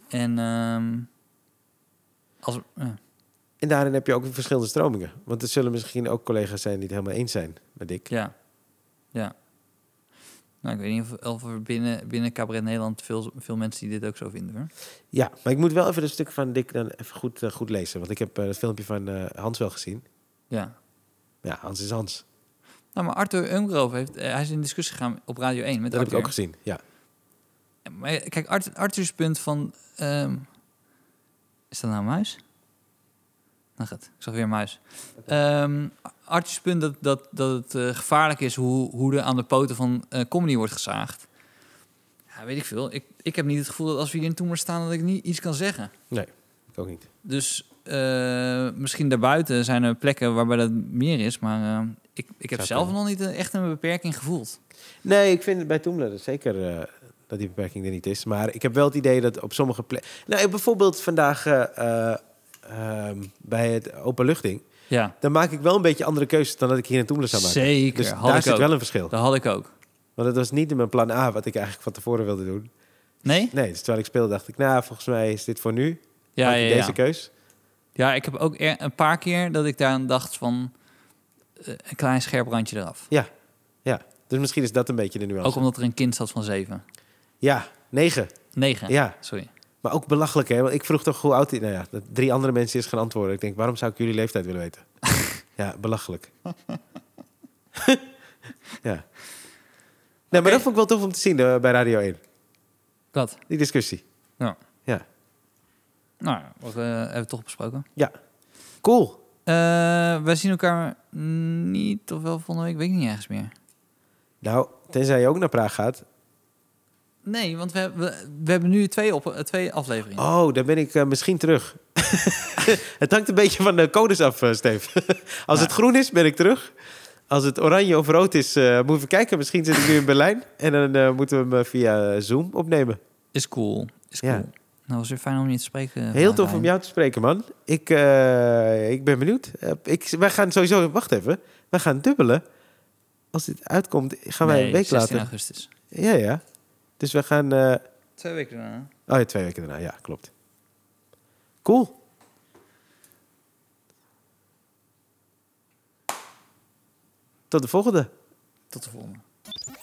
B: En ehm, als, eh,
A: En daarin heb je ook verschillende stromingen. Want er zullen misschien ook collega's zijn die het helemaal eens zijn met Dick.
B: ja, ja. Nou, ik weet niet of, of er binnen, binnen Cabaret Nederland veel, veel mensen die dit ook zo vinden. Hoor.
A: Ja, maar ik moet wel even dat stuk van Dick dan even goed, eh, goed lezen. Want ik heb eh, het filmpje van eh, Hans wel gezien.
B: Ja.
A: Ja, Hans is Hans.
B: Nou, maar Arthur Ungrove heeft, eh, hij is in discussie gegaan op Radio 1 met
A: Dat heb ik
B: Arthur.
A: ook gezien, ja.
B: Maar eh, kijk, Art, Arthur's punt van... ehm, is dat nou een muis? Nou goed, ik zag weer een muis. Ehm, Arthur's punt dat, dat, dat het eh, gevaarlijk is hoe, hoe er aan de poten van eh, comedy wordt gezaagd. Ja, weet ik veel. Ik, ik heb niet het gevoel dat als we hier in Toemer staan dat ik niet iets kan zeggen.
A: Nee, ik ook niet.
B: Dus eh, misschien daarbuiten zijn er plekken waarbij dat meer is. Maar eh, ik, ik heb
A: Zou
B: zelf
A: kunnen.
B: nog niet eh, echt een beperking gevoeld.
A: Nee, ik vind het bij Toemler dat zeker eh, dat die beperking er niet is. Maar ik heb wel het idee dat op sommige plekken... Nou, bijvoorbeeld vandaag eh, eh, ehm, bij het openluchtding...
B: Ja.
A: dan maak ik wel een beetje andere keuzes dan dat ik hier in Toemler zou maken.
B: Zeker,
A: Dus
B: had
A: daar
B: ik
A: zit
B: ook.
A: wel een verschil.
B: Dat had ik ook.
A: Want het was niet in mijn plan A wat ik eigenlijk van tevoren wilde doen.
B: Nee?
A: Nee, dus terwijl ik speelde dacht ik... nou, volgens mij is dit voor nu.
B: Ja,
A: Maak ik
B: ja, ja.
A: deze keus.
B: ja, ik heb ook er- een paar keer dat ik daar aan dacht van eh, een klein scherp randje eraf.
A: Ja, ja. Dus misschien is dat een beetje de nuance.
B: Ook omdat er een kind zat van zeven.
A: Ja, negen.
B: Negen,
A: ja.
B: sorry.
A: Maar ook belachelijk, hè? Want ik vroeg toch hoe oud hij... Nou ja, dat drie andere mensen is gaan antwoorden. Ik denk, waarom zou ik jullie leeftijd willen weten? ja, belachelijk. ja. Nee, maar dat vond ik wel tof om te zien eh, bij Radio 1.
B: Dat.
A: Die discussie.
B: Ja.
A: Ja.
B: Nou, ja, wat eh, hebben we toch besproken.
A: Ja. Cool.
B: Eh, wij zien elkaar niet of wel volgende week, weet ik niet ergens meer.
A: Nou, tenzij je ook naar Praag gaat.
B: Nee, want we, hebben- we, we hebben nu twee, op, eh, twee afleveringen.
A: Oh, dan ben ik eh, misschien terug. het hangt een beetje van de codes af, eh, Steve. Als het groen is, ben ik terug. Als het oranje of rood is, eh moeten we kijken. Misschien zit ik nu in Berlijn. En dan eh, moeten we hem eh, via Zoom opnemen.
B: Is cool. Is cool.
A: Ja.
B: Nou, was weer fijn om je te spreken.
A: Heel
B: vandaag,
A: tof om
B: Ryan.
A: jou te spreken, man. Ik, eh, ik ben benieuwd. Eh, ik, wij gaan sowieso... Wacht even. Wij gaan dubbelen. Als dit uitkomt, gaan wij
B: Nee,
A: een week
B: 16
A: later...
B: augustus.
A: Ja, ja. Dus we gaan... eh,
B: Twee weken daarna.
A: oh ja, twee weken daarna. Ja, klopt. Cool. Tot de volgende.
B: Tot de volgende.